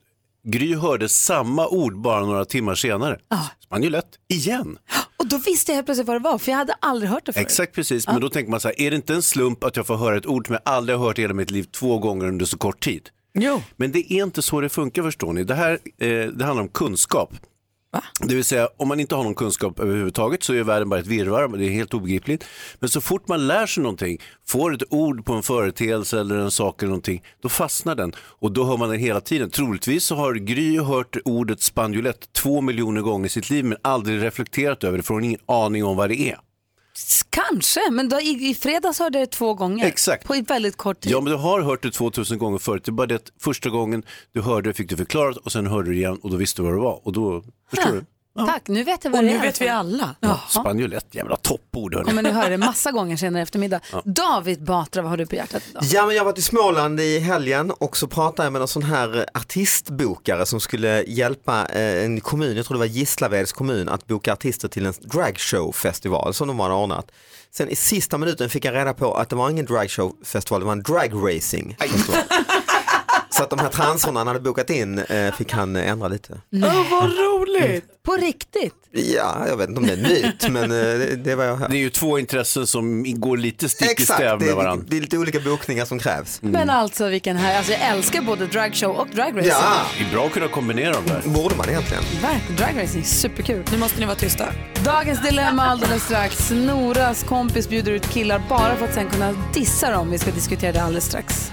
S3: Gry hörde samma ord bara några timmar senare. Spanjolett, igen.
S1: Och då visste jag helt plötsligt vad det var för jag hade aldrig hört det förut.
S3: Exakt precis, men då tänker man så här, är det inte en slump att jag får höra ett ord som jag aldrig har hört i hela mitt liv två gånger under så kort tid?
S2: Jo.
S3: Men det är inte så det funkar förstår ni. Det här eh, det handlar om kunskap. Det vill säga om man inte har någon kunskap överhuvudtaget så är världen bara ett virrvarr, men det är helt obegripligt. Men så fort man lär sig någonting, får ett ord på en företeelse eller en sak eller någonting, då fastnar den och då hör man den hela tiden. Troligtvis så har Gry hört ordet spanjolett två miljoner gånger i sitt liv men aldrig reflekterat över det för hon har ingen aning om vad det är.
S1: Kanske, men då, i, i fredags hörde jag det två gånger. Exakt. På ett väldigt kort tid.
S3: Ja, men du har hört det 2000 gånger förut. Det är bara det att första gången du hörde det fick du förklarat och sen hörde du igen och då visste du vad det var. Och då förstår du.
S1: Tack, nu vet jag vad
S2: Och
S1: det är.
S2: nu vet vi alla.
S1: Ja.
S3: Spanjolett, jävla toppord hörni.
S1: Kommer ni höra det massa gånger senare i eftermiddag.
S13: Ja.
S1: David Batra, vad har du på hjärtat idag?
S13: Ja, men jag var i Småland i helgen och så pratade jag med någon sån här artistbokare som skulle hjälpa eh, en kommun, jag tror det var Gislaveds kommun, att boka artister till en dragshowfestival som de hade ordnat. Sen i sista minuten fick jag reda på att det var ingen dragshowfestival, det var en dragracingfestival. Så att de här transorna han hade bokat in eh, fick han eh, ändra lite.
S1: Oh, vad
S2: Mm.
S1: roligt! På riktigt?
S13: Ja, jag vet inte om det är en myt, men eh, det, det var jag hör.
S3: Det är ju två intressen som går lite stick i
S13: Exakt,
S3: stäv
S13: det är-
S3: med varandra. Mm.
S13: Det är lite olika bokningar som krävs.
S1: Men alltså vilken här, alltså jag älskar både dragshow och dragracing.
S3: Det är bra att kunna kombinera dem där.
S13: Borde man egentligen.
S1: Verkligen, dragracing, superkul.
S2: Nu måste ni vara tysta.
S1: Dagens dilemma alldeles strax. Noras kompis bjuder ut killar bara för att sen kunna dissa dem. Vi ska diskutera det alldeles strax.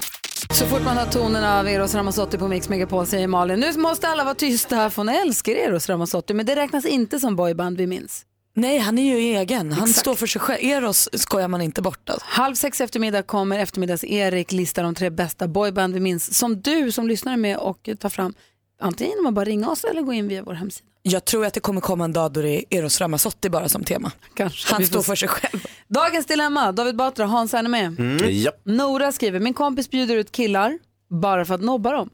S1: Så fort man hör tonen av Eros Ramazzotti på Mix Megapol säger Malin, nu måste alla vara tysta för hon älskar Eros Ramazzotti, men det räknas inte som boyband vi minns.
S2: Nej, han är ju egen. Han står för sig själv. Eros skojar man inte bort. Alltså.
S1: Halv sex i eftermiddag kommer eftermiddags-Erik lista de tre bästa boyband vi minns som du som lyssnar är med och tar fram. Antingen genom att bara ringa oss eller gå in via vår hemsida.
S2: Jag tror att det kommer komma en dag då det är Eros Ramazzotti bara som tema.
S1: Kanske.
S2: Han
S1: Vi får
S2: står
S1: se.
S2: för sig själv.
S1: Dagens dilemma, David Batra, Hans är ni med?
S2: Mm. Japp.
S1: Nora skriver, min kompis bjuder ut killar bara för att nobba dem.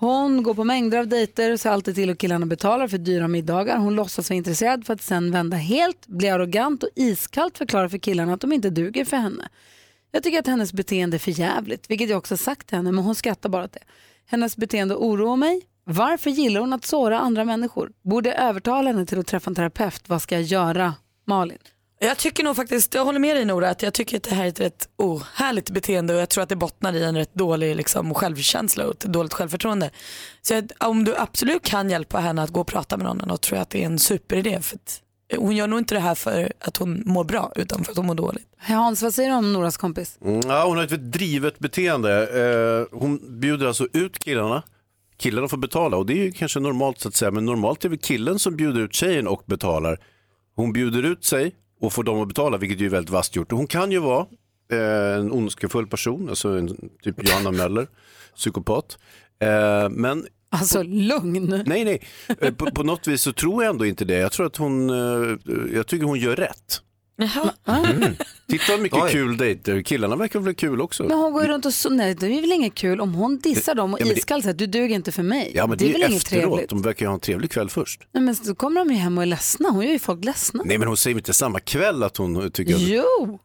S1: Hon går på mängder av dejter och ser alltid till att killarna betalar för dyra middagar. Hon låtsas vara intresserad för att sen vända helt, bli arrogant och iskallt förklara för killarna att de inte duger för henne. Jag tycker att hennes beteende är för jävligt, vilket jag också sagt till henne, men hon skrattar bara åt det. Hennes beteende oroar mig. Varför gillar hon att såra andra människor? Borde jag övertala henne till att träffa en terapeut? Vad ska jag göra? Malin?
S2: Jag tycker nog faktiskt, jag håller med dig Nora, att jag tycker att det här är ett rätt ohärligt beteende och jag tror att det bottnar i en rätt dålig liksom, självkänsla och ett dåligt självförtroende. Så jag, om du absolut kan hjälpa henne att gå och prata med någon, då tror jag att det är en superidé. För att hon gör nog inte det här för att hon mår bra, utan för att hon mår dåligt.
S1: Hans, vad säger du om Noras kompis?
S3: Mm, Ja, hon har ett väldigt drivet beteende. Eh, Hon bjuder alltså ut killarna. Killarna får betala och det är ju kanske normalt så att säga. Men normalt är det killen som bjuder ut tjejen och betalar. Hon bjuder ut sig och får dem att betala, vilket ju är väldigt vasst gjort. Och Hon kan ju vara eh, en ondskefull person, alltså en, typ Johanna Möller, psykopat. Eh, Men
S1: Alltså lugn.
S3: Nej, nej. Eh, På, på något vis så tror jag ändå inte det. Jag tror att hon, eh, jag tycker hon gör rätt. Mm. Titta vad mycket
S1: Oj.
S3: kul dejter. Killarna verkar väl kul också.
S1: Men hon går ju runt och så, nej det är väl inget kul om hon dissar dem och
S3: Ja, men det-
S1: iskallt säger att du duger inte för mig.
S3: Ja, men
S1: det är väl
S3: ju
S1: inget
S3: efteråt.
S1: trevligt.
S3: De verkar ju ha en trevlig kväll först.
S1: Nej, men så kommer de ju hem och är ledsna, hon gör ju folk ledsna.
S3: Nej, men hon säger väl inte samma kväll att hon tycker att...
S1: Jo!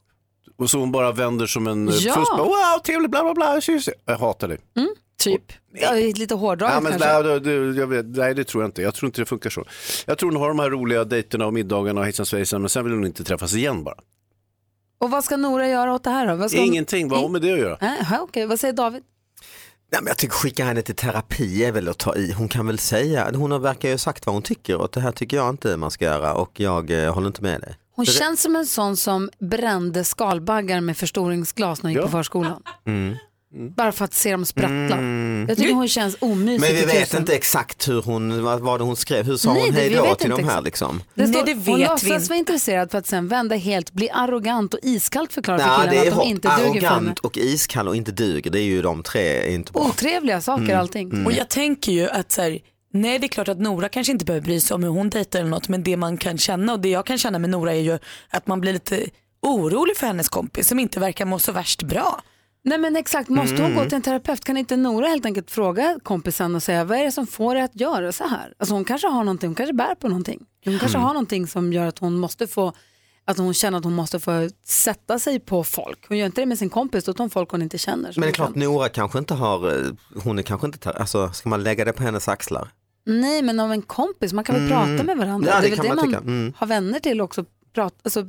S3: Och så hon bara vänder som en eh,
S1: Ja.
S3: fuss. Bara, wow, trevligt, bla, bla, bla. tjus." Jag hatar dig.
S1: Mm, typ. Ja, det är lite hårdraget
S3: Ja, men,
S1: kanske.
S3: nej, det, jag vet, nej, det tror jag inte. Jag tror inte det funkar så. Jag tror hon har de här roliga dejterna och middagarna och hejsan svejsan, men sen vill hon inte träffas igen bara.
S1: Och vad ska Nora göra åt det här då? Vad ska hon-
S3: Ingenting, vad har hon med det att göra?
S1: Nej, ja, okej. Vad säger David?
S13: Nej, men jag tycker skicka henne till terapi är väl att ta i. Hon kan väl säga, hon har- verkar ju ha sagt vad hon tycker och det här tycker jag inte man ska göra och jag eh, håller inte med dig.
S1: Hon
S13: Det-
S1: känns som en sån som brände skalbaggar med förstoringsglas när hon gick på förskolan.
S13: Mm.
S1: Bara för att se dem sprattla.
S13: Mm.
S1: Jag tycker hon känns omysig.
S13: Men vi
S1: till
S13: vet
S1: tusan.
S13: inte exakt hur hon, vad var det hon skrev, hur sa
S1: Nej,
S13: hon
S1: det- vi
S13: hej då
S1: vet
S13: till
S1: inte
S13: de här
S1: exakt.
S13: liksom?
S1: Det står,
S2: det
S1: hon
S2: vet vi
S1: låtsas
S2: inte.
S1: vara intresserad för att sen vända helt, bli arrogant och iskallt förklara för
S13: Nej,
S1: killarna
S13: det är
S1: att de
S13: hot,
S1: inte duger för henne.
S13: arrogant och iskall och inte duger, det är ju de tre inte bra.
S1: Otrevliga saker
S13: Mm.
S1: allting.
S13: Mm.
S2: Och jag tänker ju att så här, nej det är klart att Nora kanske inte behöver bry sig om hur hon dejtar eller något men det man kan känna och det jag kan känna med Nora är ju att man blir lite orolig för hennes kompis som inte verkar må så värst bra.
S1: Nej men exakt, måste hon
S2: Mm.
S1: gå till en terapeut? Kan inte Nora helt enkelt fråga kompisen och säga vad är det som får dig att göra så här? Alltså hon kanske har någonting, hon kanske bär på någonting. Hon kanske
S2: Mm.
S1: har någonting som gör att hon måste få, att hon känner att hon måste få sätta sig på folk. Hon gör inte det med sin kompis, då tar hon folk hon inte känner. liksom.
S13: Men det är klart Nora kanske inte har, eh, hon är kanske inte, ter- alltså ska man lägga det på hennes axlar?
S1: Nej men om en kompis, man kan väl
S13: Mm.
S1: prata med varandra? det
S13: Ja,
S1: är
S13: det
S1: väl
S13: kan
S1: det
S13: man
S1: man
S13: tycka. Mm.
S1: har vänner till också, prata, alltså,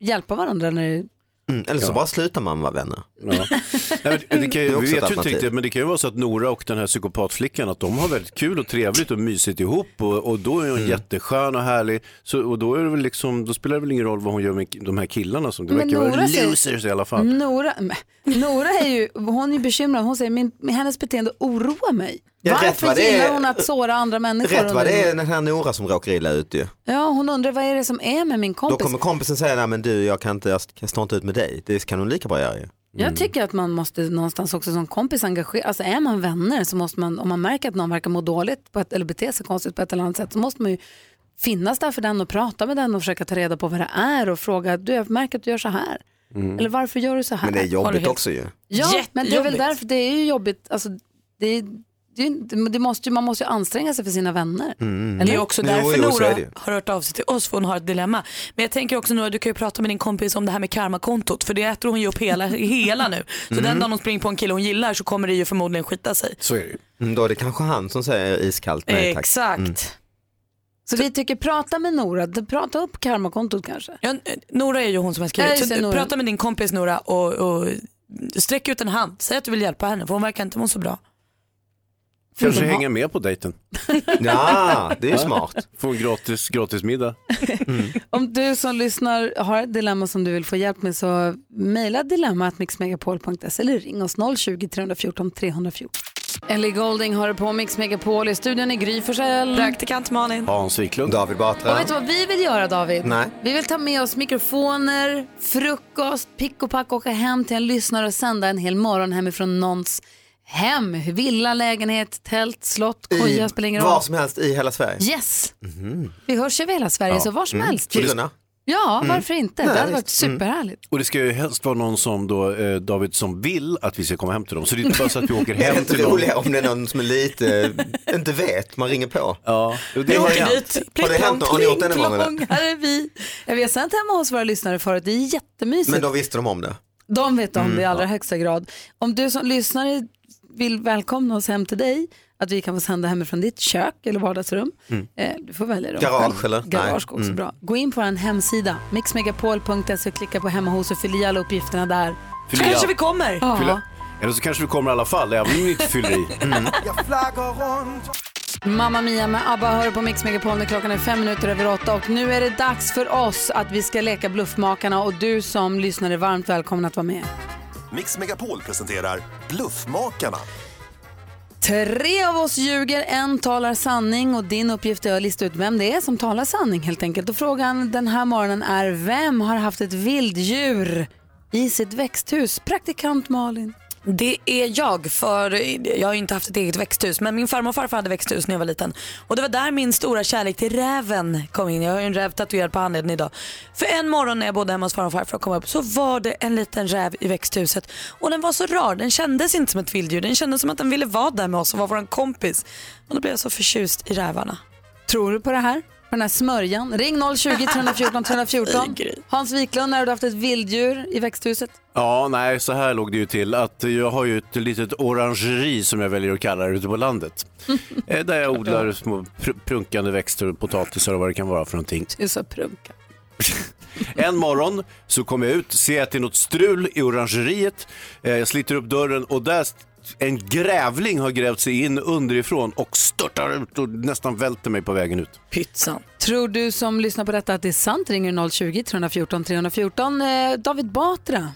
S1: hjälpa varandra när det
S13: Mm. Eller så bara slutar man vara vänner.
S3: Nej, men det kan
S13: Det är
S3: ju,
S13: också
S3: vi vet
S13: ett
S3: ju inte
S13: alternativ.
S3: riktigt, men det kan ju vara så att Nora och den här psykopatflickan, att de har väldigt kul och trevligt och mysigt ihop och, och då är hon
S13: Mm.
S3: jätteskön och härlig. Så, och då, är det väl liksom, då spelar det väl ingen roll vad hon gör med de här killarna som det
S1: Men
S3: verkar vara
S1: Nora Mm. säger-
S3: losers i alla fall.
S1: Nora, men, Nora är ju, hon är ju bekymrad. Hon säger min, hennes beteende oroar mig.
S13: Ja, rätt
S1: Varför
S13: vad det är-
S1: gillar hon att såra andra människor?
S13: Rätt vad det är
S1: undrar
S13: den här Nora som råkar illa ut ju.
S1: hon. Ja, hon undrar vad är det som är med min
S13: Då
S1: kompis?
S13: kommer kompisen säga, nej men du jag kan inte, jag st- jag står inte ut med dig. Det kan hon lika bra göra ju.
S3: Mm.
S1: Jag tycker att man måste någonstans också som kompis engagera, alltså är man vänner så måste man, om man märker att någon verkar må dåligt på ett, eller bete sig konstigt på ett eller annat sätt så måste man ju finnas där för den och prata med den och försöka ta reda på vad det är och fråga, du jag märker att du gör så här.
S13: Mm.
S1: Eller varför gör du så här?
S13: Men det är
S1: Har du
S13: jobbigt
S1: helt-
S13: också ju.
S1: Ja, men det är väl
S13: Jättejobbigt.
S1: därför det är ju jobbigt. Alltså, det är, det är, ju inte- det måste ju, man måste ju anstränga sig för sina vänner.
S13: Mm.
S1: Eller?
S2: Det är också därför Nora har hört av sig till oss för hon har ett dilemma. Men jag tänker också Nora, du kan ju prata med din kompis om det här med karmakontot för det äter hon ju upp hela, hela nu. Så
S13: Mm.
S2: den dagen hon springer på en kille hon gillar så kommer det ju förmodligen skita sig.
S3: Så är det ju.
S13: Mm, då är det kanske han som säger iskallt nej tack.
S2: Exakt.
S13: Mm.
S1: Så vi tycker prata med Nora, prata upp karmakontot kanske.
S2: Ja, Nora är ju hon som har
S1: Ja,
S2: skrivit.
S1: just det,
S2: Så
S1: Nora.
S2: prata med din kompis Nora och, och sträck ut en hand. Säg att du vill hjälpa henne för hon verkar inte må så bra.
S3: Kanske
S1: Mm.
S2: Vill de ha-
S3: hänga med på dejten.
S13: Ja, det är ju smart.
S3: Få en gratis, gratis middag.
S1: Om du som lyssnar har ett dilemma som du vill få hjälp med så mejla dilemma.mixmegapol.se eller ring oss 020 314 314. Ellie Golding har det på Mix Megapol i studion i Gry Forssell.
S2: Praktikant Malin.
S3: Hans Wiklund.
S13: David Batra.
S1: Och vet du vad vi vill göra David?
S13: Nej.
S1: Vi vill ta med oss mikrofoner, frukost, pick och pack, åka hem till en lyssnare och sända en hel morgon hemifrån någons hem. Villa, lägenhet, tält, slott, koja, spelar ingen roll.
S13: Var som helst i hela Sverige.
S1: Yes!
S13: Mhm.
S1: Vi hörs över hela Sverige,
S3: Ja.
S1: så var som
S3: Mm.
S1: helst.
S3: Kiruna.
S1: Ja,
S3: Mm.
S1: varför inte?
S3: Nej,
S1: det hade varit
S3: visst. Mm.
S1: superhärligt.
S3: Och det ska ju helst vara någon som då, eh, David, som vill att vi ska komma hem till dem. Så det är inte bara så att vi åker
S13: Det är
S3: hem
S13: inte
S3: till dem.
S13: roligare om det är någon som är lite, eh, inte vet, man ringer på.
S3: Ja,
S13: det har ju hänt. Har det hänt något? Har ni gjort det någon gång? eller?
S1: Här är vi. Ja, vi har sänt hemma hos våra lyssnare förut, det är jättemysigt.
S13: Men då visste de om det.
S1: De vet om
S13: Mm,
S1: det i allra högsta grad. Om du som lyssnare vill välkomna oss hem till dig, att vi kan få sända hemifrån ditt kök eller vardagsrum.
S13: Mm.
S1: Eh, du får välja då.
S13: Garage
S1: själv.
S13: eller?
S1: Garage går
S13: Nej.
S1: också
S13: Mm.
S1: bra. Gå in på vår hemsida, mixmegapol.se och klicka på hemma hos och fyll i alla uppgifterna där.
S3: Fyll i allt.
S2: kommer.
S1: Ja.
S3: Fylla- Eller så kanske vi kommer i alla fall, även om ni inte fyller i. Mm.
S13: Mm.
S1: Mamma Mia med ABBA hör på Mix Megapol när klockan är fem minuter över åtta och nu är det dags för oss att vi ska leka Bluffmakarna och du som lyssnar är varmt välkommen att vara med.
S11: Mix Megapol presenterar Bluffmakarna.
S1: Tre av oss ljuger, en talar sanning och din uppgift är att lista ut vem det är som talar sanning helt enkelt. Och frågan den här morgonen är vem har haft ett vilddjur i sitt växthus? Praktikant Malin.
S2: Det är jag, för jag har ju inte haft ett eget växthus, men min farmor och farfar hade växthus när jag var liten. Och det var där min stora kärlek till räven kom in. Jag har ju en räv tatuerad på handleden idag. För en morgon när jag bodde hemma hos farmor och farfar och kom upp så var det en liten räv i växthuset. Och den var så rar, den kändes inte som ett vilddjur. Den kändes som att den ville vara där med oss och vara vår kompis. Och då blev jag så förtjust i rävarna.
S1: Tror du på det här? På den här smörjan? Ring 020 314 314. Hans Wiklund, när har du haft ett vilddjur i växthuset?
S3: Ja, nej, så här låg det ju till. Att jag har ju ett litet orangeri som jag väljer att kalla det ute på landet. Eh, Där jag odlar små pr- prunkande växter, potatisar och vad det kan vara för någonting.
S1: Du sa prunka.
S3: En morgon så kommer jag ut, ser att det är något strul i orangeriet. Eh, Jag sliter upp dörren och där st- en grävling har grävt sig in underifrån och störtar ut och nästan välter mig på vägen ut.
S2: Pytsan.
S1: Tror du som lyssnar på detta att det är sant ringer 020 314 314. Eh, David Batra.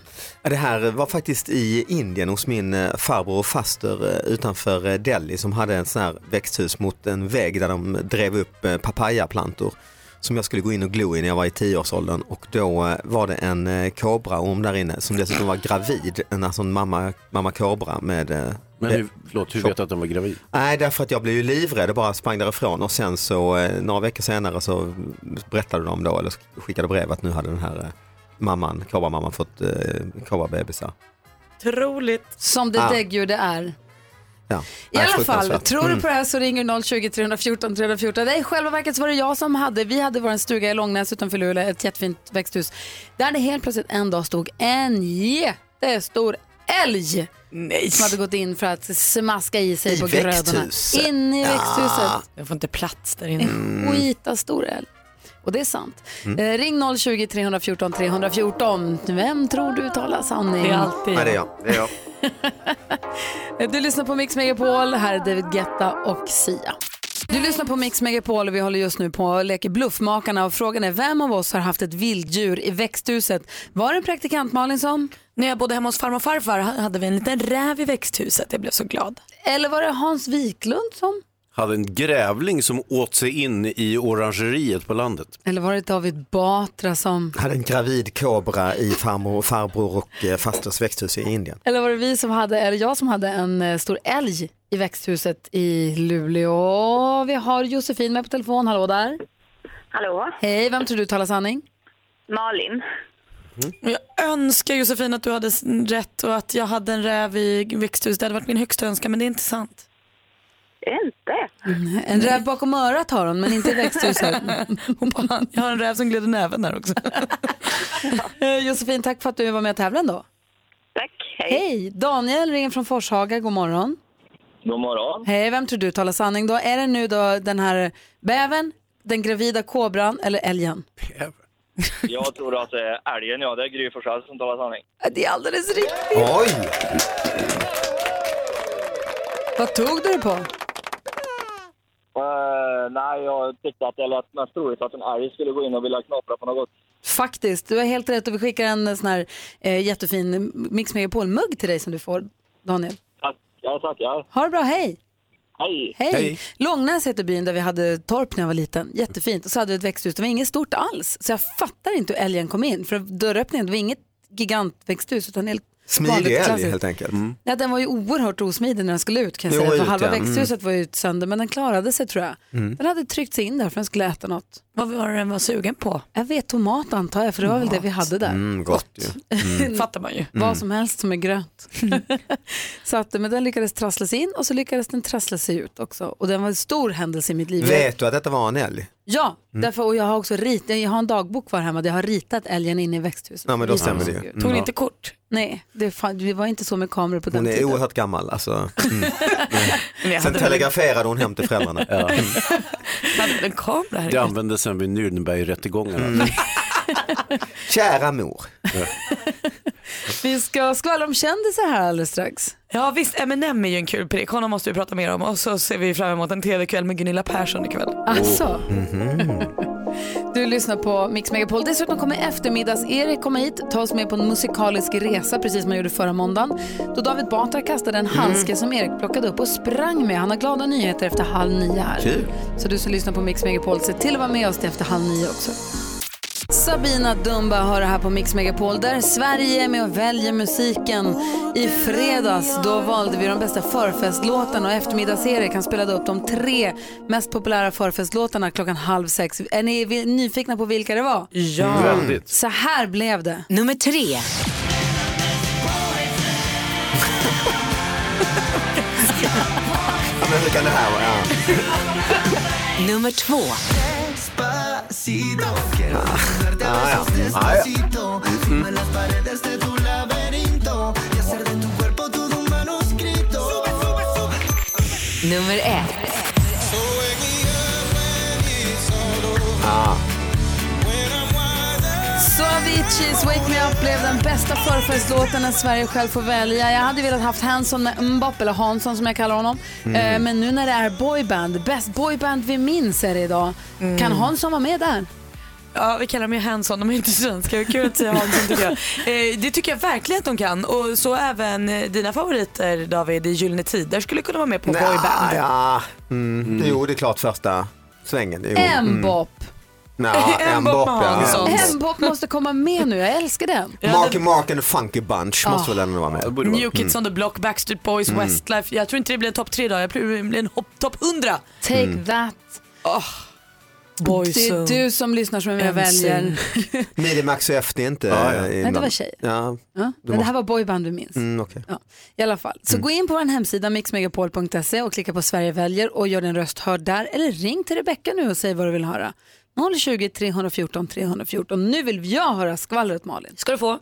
S13: Ja, Det här var faktiskt i Indien hos min eh, farbror och faster eh, utanför eh, Delhi som hade en sån här växthus mot en vägg där de drev upp eh, papayaplantor som jag skulle gå in och glo i när jag var i tioårsåldern och då eh, var det en eh, kobraorm där inne som dessutom var gravid, en alltså en mamma, mamma kobra med... eh,
S3: Men hur, förlåt, hur vet du att den var gravid?
S13: Nej, därför att jag blev ju livrädd och bara sprang därifrån och sen så eh, några veckor senare så berättade de då, eller skickade brev att nu hade den här eh, mamman, kobramamman fått eh, kobrabebisar.
S2: Otroligt.
S1: Som det
S13: Ah.
S1: däggdjur det är.
S13: Ja. Mm.
S1: I alla fall, tror du på det här så ringer 020 314 314. Nej, i själva verket så var det jag som hade, vi hade vår stuga i Långnäs utanför Luleå, ett jättefint växthus. Där det helt plötsligt en dag stod en jättestor älg.
S2: Nej.
S1: Som hade gått in för att smaska i sig
S2: I
S1: på
S2: växthuset?
S1: grödorna. In i
S2: Ja.
S1: växthuset.
S2: Jag får inte plats där inne.
S1: En skitstor älg. Och det är sant.
S2: Mm.
S1: Eh, ring 020 314 314. Vem tror du talar sanning?
S2: Det är alltid
S13: Nej, det är jag. Det är jag.
S1: Du lyssnar på Mix Megapol, här är David Guetta och Sia. Du lyssnar på Mix Megapol och vi håller just nu på och leker Bluffmakarna och frågan är vem av oss har haft ett vilddjur i växthuset? Var det en praktikant Malin som?
S2: När jag bodde hemma hos farmor och farfar hade vi en liten räv i växthuset. Jag blev så glad.
S1: Eller var det Hans Wiklund som?
S3: Hade en grävling som åt sig in i orangeriet på landet.
S1: Eller var det David Batra som?
S13: Hade en gravid kobra i farmor, farbror och eh, fasters växthus i Indien.
S1: Eller var det vi som hade, eller jag som hade en eh, stor älg i växthuset i Luleå? Vi har Josefin med på telefon, hallå där.
S7: Hallå?
S1: Hej, vem tror du talar sanning?
S7: Malin.
S2: Jag önskar Josefin att du hade s- rätt och att jag hade en räv i växthus. Det hade varit min högsta önskan men det är inte sant.
S7: Inte?
S1: En räv bakom örat har hon, men inte i växthuset.
S2: Hon bara, jag har en räv som glider näven där också.
S1: Eh, Josefin, tack för att du var med och tävlade då.
S7: Tack,
S1: hej. Hej, Daniel ringer från Forshaga, god morgon.
S14: God morgon.
S1: Hej, vem tror du talar sanning då? Är det nu då den här bäven, den gravida kobran eller älgen?
S14: Jag tror att det är älgen, ja. Det är Gry Forssell som talar sanning.
S1: Det är alldeles riktigt.
S13: Oj!
S1: Vad tog du det på?
S14: Eh, nej, jag tyckte att det lät mest troligt att en älg skulle gå in och vilja knapra på något.
S1: Faktiskt, du har helt rätt och vi skickar en sån här eh, jättefin Mix Megapol-mugg till dig som du får, Daniel.
S14: Tack, jag tackar.
S1: Ha det bra, hej!
S14: Hej!
S1: Hej! Långnäs heter byn där vi hade torp när jag var liten. Jättefint. Och så hade vi ett växthus. Det var inget stort alls. Så jag fattar inte hur älgen kom in. För dörröppningen, det var inget gigantväxthus utan helt
S13: Smidig älg
S1: klassiskt.
S13: helt enkelt.
S1: Ja, den var ju oerhört osmidig när den skulle ut kan jag
S13: Jo,
S1: säga. För
S13: ut,
S1: halva
S13: ja.
S1: växthuset var
S13: Mm.
S1: ju sönder men den klarade sig tror jag.
S13: Mm.
S1: Den hade tryckt sig in där för den skulle äta något. Vad var den var sugen på? Jag vet tomat antar jag för det var väl det vi hade där.
S13: Mm, gott ju. Mm.
S1: Fattar man ju. Vad som helst som är grönt. så att, men den lyckades trassla sig in och så lyckades den trassla sig ut också. Och den var en stor händelse i mitt liv.
S13: Vet Mm. du att detta var en älg?
S1: Ja, därför, och jag har också ritat, jag har en dagbok kvar hemma där jag har ritat älgen inne i växthuset.
S13: Ja, men då
S1: Visar
S13: stämmer
S1: hur
S13: det
S1: den
S13: ju.
S1: såg ut.
S13: Mm. Tog ni inte
S1: kort? Nej, det, fan, det var inte så med kameror på den
S13: Hon är
S1: tiden.
S13: oerhört gammal alltså. Mm.
S1: jag
S13: Sen
S1: hade-
S13: telegraferade hon hem till föräldrarna.
S2: Hade en kamera
S3: Det
S2: här.
S3: användes sen vid Nürnbergrättegångarna.
S13: Kära mor.
S1: Vi ska skvallra om kändisar här alldeles strax.
S2: Ja visst, M&M är ju en kul prick. Honom måste vi prata mer om. Och så ser vi fram emot en tv-kväll med Gunilla Persson ikväll.
S13: Oh.
S1: Alltså.
S13: Mm-hmm.
S1: Du lyssnar på Mix Megapol. Dessutom kommer eftermiddags-Erik komma hit, ta oss med på en musikalisk resa, precis som han gjorde förra måndagen, då David Batra kastade en handske som Erik plockade upp och sprang med. Han har glada nyheter efter halv nio här.
S4: Kul.
S1: Så du som lyssnar på Mix Megapol, se till att vara med oss till efter halv nio också. Sabina Dumba har det här på Mix Megapol där Sverige är med och väljer musiken. I fredags då valde vi de bästa förfestlåtarna och eftermiddags-Erik han spelade upp de tre mest populära förfestlåtarna klockan halv sex. Är ni vi- nyfikna på vilka det var?
S4: Ja. Väldigt.
S1: Så här blev det.
S10: Nummer tre.
S13: Ja, men hur kan det här vara? Ja.
S10: Nummer två.
S13: Ah, ja. Ah, ja. Mm.
S10: Nummer ett.
S13: Ah.
S1: Så Aviciis Wake Me Up blev den bästa förfestlåten när Sverige själv får välja. Jag hade velat haft Hanson med Mbapp, eller Hansson som jag kallar honom.
S4: Mm.
S1: Eh, Men nu när det är boyband, bäst boyband vi minns är det idag.
S13: Mm.
S1: Kan Hansson vara med där?
S2: Ja, vi kallar dem ju Hanson, de är inte svenska. Hur kul att säga Hanson tycker jag. Eh, det tycker jag verkligen att de kan. Och så även eh, dina favoriter David i Gyllene Tider skulle kunna vara med på boyband.
S13: Ah, ja. mm. Jo, det är klart första svängen. Jo.
S1: Mbop.
S13: Ja, M-bop, ja.
S1: M-bop måste komma med nu, jag älskar den.
S13: Marky Mark and the Funky Bunch
S1: Ah.
S13: måste väl ändå vara med?
S2: New Kids on the Block, Backstreet Boys,
S13: Mm.
S2: Westlife. Jag tror inte det blir en topp tre idag, jag tror det blir en hopp- topp 100.
S1: Take
S13: Mm.
S1: that. det är
S2: Boyzone.
S1: du som lyssnar som är med och
S2: MC.
S1: väljer.
S13: Mediamax och FD inte
S1: Ja, ja.
S13: eh,
S1: Nej, det
S13: innan.
S1: var tjejer.
S13: Ja.
S1: Ja,
S13: Du
S1: men det
S13: måste-
S1: här var boyband vi minns.
S13: Mm, okej.
S1: I alla fall. Så gå in på vår hemsida mixmegapol.se och klicka på Sverige väljer och gör din röst hörd där. Eller ring till Rebecka nu och säg vad du vill höra. 020 314 314. Nu vill jag höra skvallret Malin.
S2: Ska du få.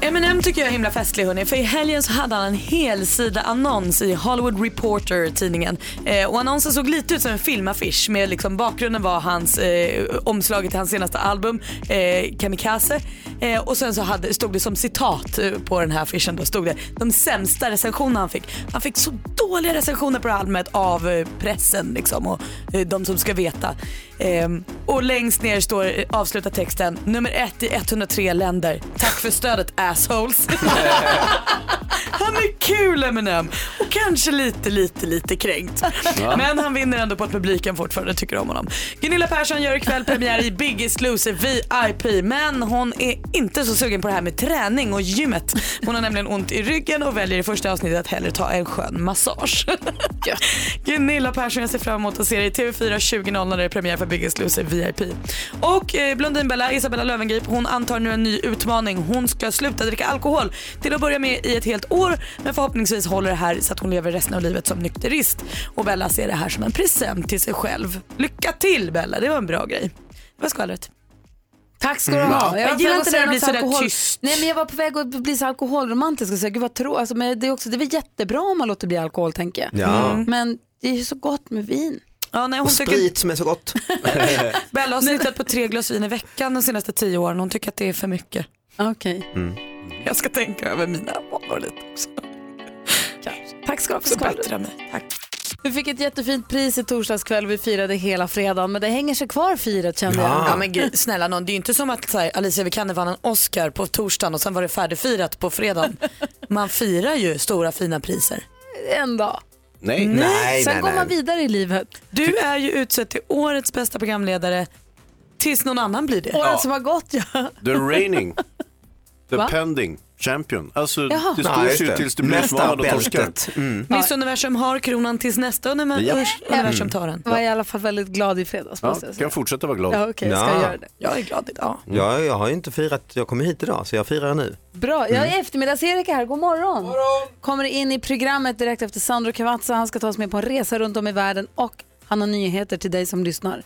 S2: Eminem tycker jag är himla festlig hörni, för i helgen så hade han en helsida annons i Hollywood Reporter tidningen. Eh, och annonsen såg lite ut som en filmaffisch med liksom bakgrunden var hans eh, omslaget till hans senaste album eh, Kamikaze. Eh, och sen så hade, stod det som citat eh, på den här affischen då stod det de sämsta recensionerna han fick. Han fick så dåliga recensioner på det här albumet av eh, pressen liksom och eh, de som ska veta. Ehm, och längst ner står avsluta texten nummer ett i 103 länder. Tack för stödet assholes. Han är kul Eminem och kanske lite, lite, lite kränkt.
S4: Ja.
S2: Men han vinner ändå på att publiken fortfarande tycker om honom. Gunilla Persson gör ikväll premiär i Biggest Loser VIP men hon är inte så sugen på det här med träning och gymmet. Hon har nämligen ont i ryggen och väljer i första avsnittet att hellre ta en skön massage. Gunilla Persson, jag ser fram emot att se dig i TV4 20.00 när det är premiär för Biggest Loser VIP. Och eh, Blondinbella, Isabella Löwengrip, hon antar nu en ny utmaning. Hon ska sluta dricka alkohol till att börja med i ett helt år men förhoppningsvis håller det här så att hon lever resten av livet som nykterist. Och Bella ser det här som en present till sig själv. Lycka till Bella, det var en bra grej. Det var skvallret.
S1: Tack ska du ha.
S2: Mm. Jag,
S1: var på
S2: gillar
S1: väg
S2: inte
S1: att
S2: när det
S1: säga
S2: blir
S1: något
S2: sådär
S1: alkohol-
S2: tyst.
S1: Nej, men jag var på väg att bli så alkoholromantisk och säga, gud vad tro. Alltså, men det, är också, det är väl jättebra om man låter bli alkohol tänker jag.
S13: Ja.
S1: Mm. Men det är ju så gott med vin.
S2: Ja, nej,
S13: Och
S2: hon tycker,
S13: sprit som är så gott.
S2: Bella har snittat på tre glas vin i veckan de senaste tio åren. Hon tycker att det är för mycket.
S1: Okej.
S2: Mm. Jag ska tänka över mina vanor lite också.
S1: Tack ska du ha för
S2: Så
S1: skvallret.
S2: bättrar mig. Tack.
S1: Vi fick ett jättefint pris i torsdags kväll. Vi firade hela fredagen, men det hänger sig kvar firet kände jag.
S2: Ja men gud, snälla någon, det är ju inte som att så här, Alicia Vikander vann en Oscar på torsdagen och sen var det färdigfirat på fredagen. Man firar ju stora fina priser.
S1: En dag.
S2: Mm. Nej.
S1: Sen går man vidare i livet.
S2: Du är ju utsedd till årets bästa programledare tills någon annan blir det.
S1: Åren
S3: Ja.
S1: som har gått ja.
S3: The reigning, the
S1: Va?
S3: pending champion. Alltså,
S1: Jaha.
S3: det
S1: Nej,
S3: står
S1: just
S3: ju
S1: det.
S3: tills det blir
S1: Nästa
S3: utmanad och torskar.
S13: bältet.
S2: Miss Universum har kronan tills nästa univ-
S3: Japp.
S2: universum
S3: Mm.
S2: tar den.
S1: Jag var i alla fall väldigt glad i fredags.
S13: Ja,
S1: måste jag säga.
S13: kan fortsätta vara glad.
S1: Ja, okej, jag ska
S13: Ja. Mm.
S1: göra det.
S2: Jag är glad idag.
S13: Ja, jag har ju inte firat, jag kommer hit idag så jag firar nu.
S1: Bra, jag är eftermiddags-Erik här. God morgon. Kommer in i programmet direkt efter Sandro Cavazza. Han ska ta oss med på en resa runt om i världen och han har nyheter till dig som lyssnar.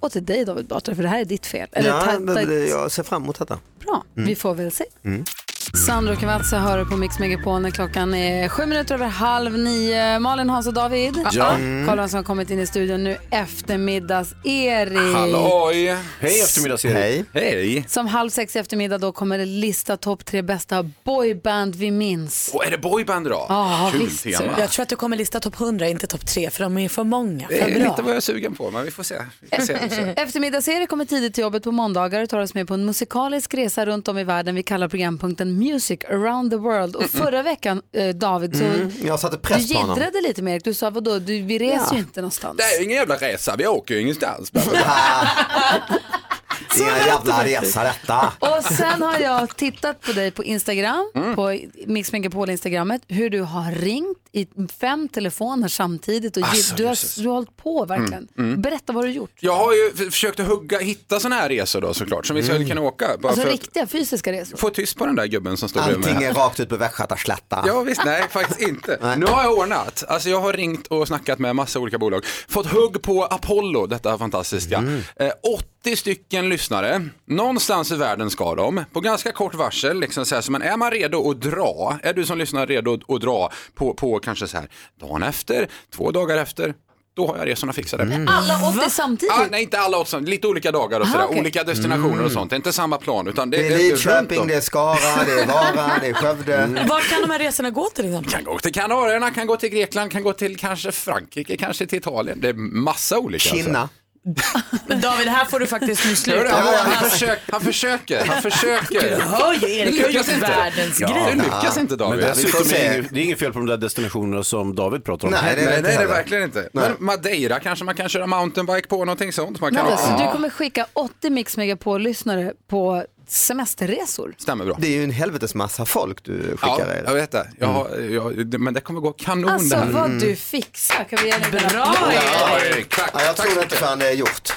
S1: Och till dig David Batra, för det här är ditt fel. Eller
S13: ja,
S1: ta-
S13: men
S1: ta-
S13: det- jag ser fram emot detta.
S1: Bra,
S13: Mm.
S1: vi får väl se.
S13: Mm.
S1: Sandro Cavazza hör på Mix Megapol när klockan är sju minuter över halv nio. Malin, Hans och David.
S15: Ja.
S1: Mm. Kolla vem som har kommit in i studion nu. Eftermiddags-Erik.
S15: Halloj!
S3: Hej, eftermiddags-Erik.
S15: Hej! Hej!
S1: Som halv sex i eftermiddag då kommer det lista topp tre bästa boyband vi minns.
S15: Och är det boyband idag?
S1: Ja,
S15: Kul
S1: visst.
S15: tema.
S2: Jag tror att du kommer lista topp 100, inte topp 3 för de är för många.
S15: Det är
S1: Vad bra.
S15: lite vad jag är sugen på, men vi får se. Vi får se. Vi får se.
S1: Eftermiddags-Erik kommer tidigt till jobbet på måndagar och tar oss med på en musikalisk resa runt om i världen. Vi kallar programpunkten Music around the world. Och förra veckan, eh, David, så
S13: Mm. Jag satte
S1: du
S13: press på honom.
S1: jiddrade lite med Erik. Du sa, vadå, du, vi reser
S13: Ja.
S1: ju inte någonstans.
S15: Det är ju ingen jävla resa, vi åker ju ingenstans.
S13: Ingen jävla resa detta.
S1: Och sen har jag tittat på dig på Instagram,
S15: Mm.
S1: på Mix Megapol-instagrammet, hur du har ringt i fem telefoner samtidigt och
S15: Alltså,
S1: ge- du,
S15: Jesus.
S1: har, du har hållit på verkligen.
S15: Mm, mm.
S1: Berätta vad du har gjort.
S15: Jag har ju f- försökt att hugga, hitta sådana här resor då såklart, som vi
S13: Mm.
S15: skulle kunna åka. Bara
S1: Alltså
S15: för att
S1: riktiga fysiska resor.
S15: få tyst på den där gubben som står bredvid mig.
S13: Antingen rakt ut på västgötaslätta.
S15: Ja visst, nej faktiskt inte. Nu har jag ordnat. Alltså jag har ringt och snackat med massa olika bolag. Fått hugg på Apollo, detta fantastiska.
S13: Mm.
S15: Eh, 80 stycken lyssnare. Någonstans i världen ska de. På ganska kort varsel, liksom så, här, så men är man redo att dra? Är du som lyssnar redo att- att dra på, på kanske så här dagen efter, två dagar efter? Då har jag resorna fixade.
S13: Mm.
S1: Alla 80 samtidigt?
S15: Ah, Mm. nej, inte alla åt samt- lite olika dagar och
S1: Aha,
S15: sådär,
S1: okej.
S15: olika destinationer och sånt. Det är inte samma plan. Utan det,
S13: Mm. Det är
S15: runt om.
S13: Lidköping, det är Skara, det är Vara, det är Skövde.
S2: Vart kan de här resorna gå till exempel?
S15: Mm. Kan gå till Kanarierna, kan gå till Grekland, kan gå till kanske Frankrike, kanske till Italien. Det är massa olika. alltså.
S13: Kina.
S2: Men David, här får du faktiskt nu
S15: Hör du,
S2: sluta.
S15: han, han,
S2: Hans-
S15: försöker, han försöker, han försöker.
S2: Du hör ju, Erik,
S15: Det
S2: du har
S15: lyckas
S2: gjort
S15: inte.
S2: världens
S15: ja,
S2: grej.
S15: Det lyckas inte David.
S3: Men dessutom
S15: Vi får
S3: är
S15: se.
S3: det, inget, det är inget fel på de där destinationerna som David pratar om.
S15: Nej, det är det, är det verkligen inte. Men Madeira kanske man kan köra mountainbike på, någonting sånt. Man kan
S1: Men alltså,
S15: Ja.
S1: du kommer skicka 80 Mix Megapol-lyssnare på semesterresor.
S15: Stämmer bra.
S13: Det är ju en helvetes massa folk du skickar Mm.
S15: Ja, jag vet det. Jag, har- jag, det- men det kommer gå kanon
S1: Alltså
S15: det här.
S1: vad du fixar. Kan vi ge dig en
S2: Bra,
S1: applåd?
S15: Mm. Ja, Erik, tack.
S13: Ja, jag tror inte förrän det är gjort.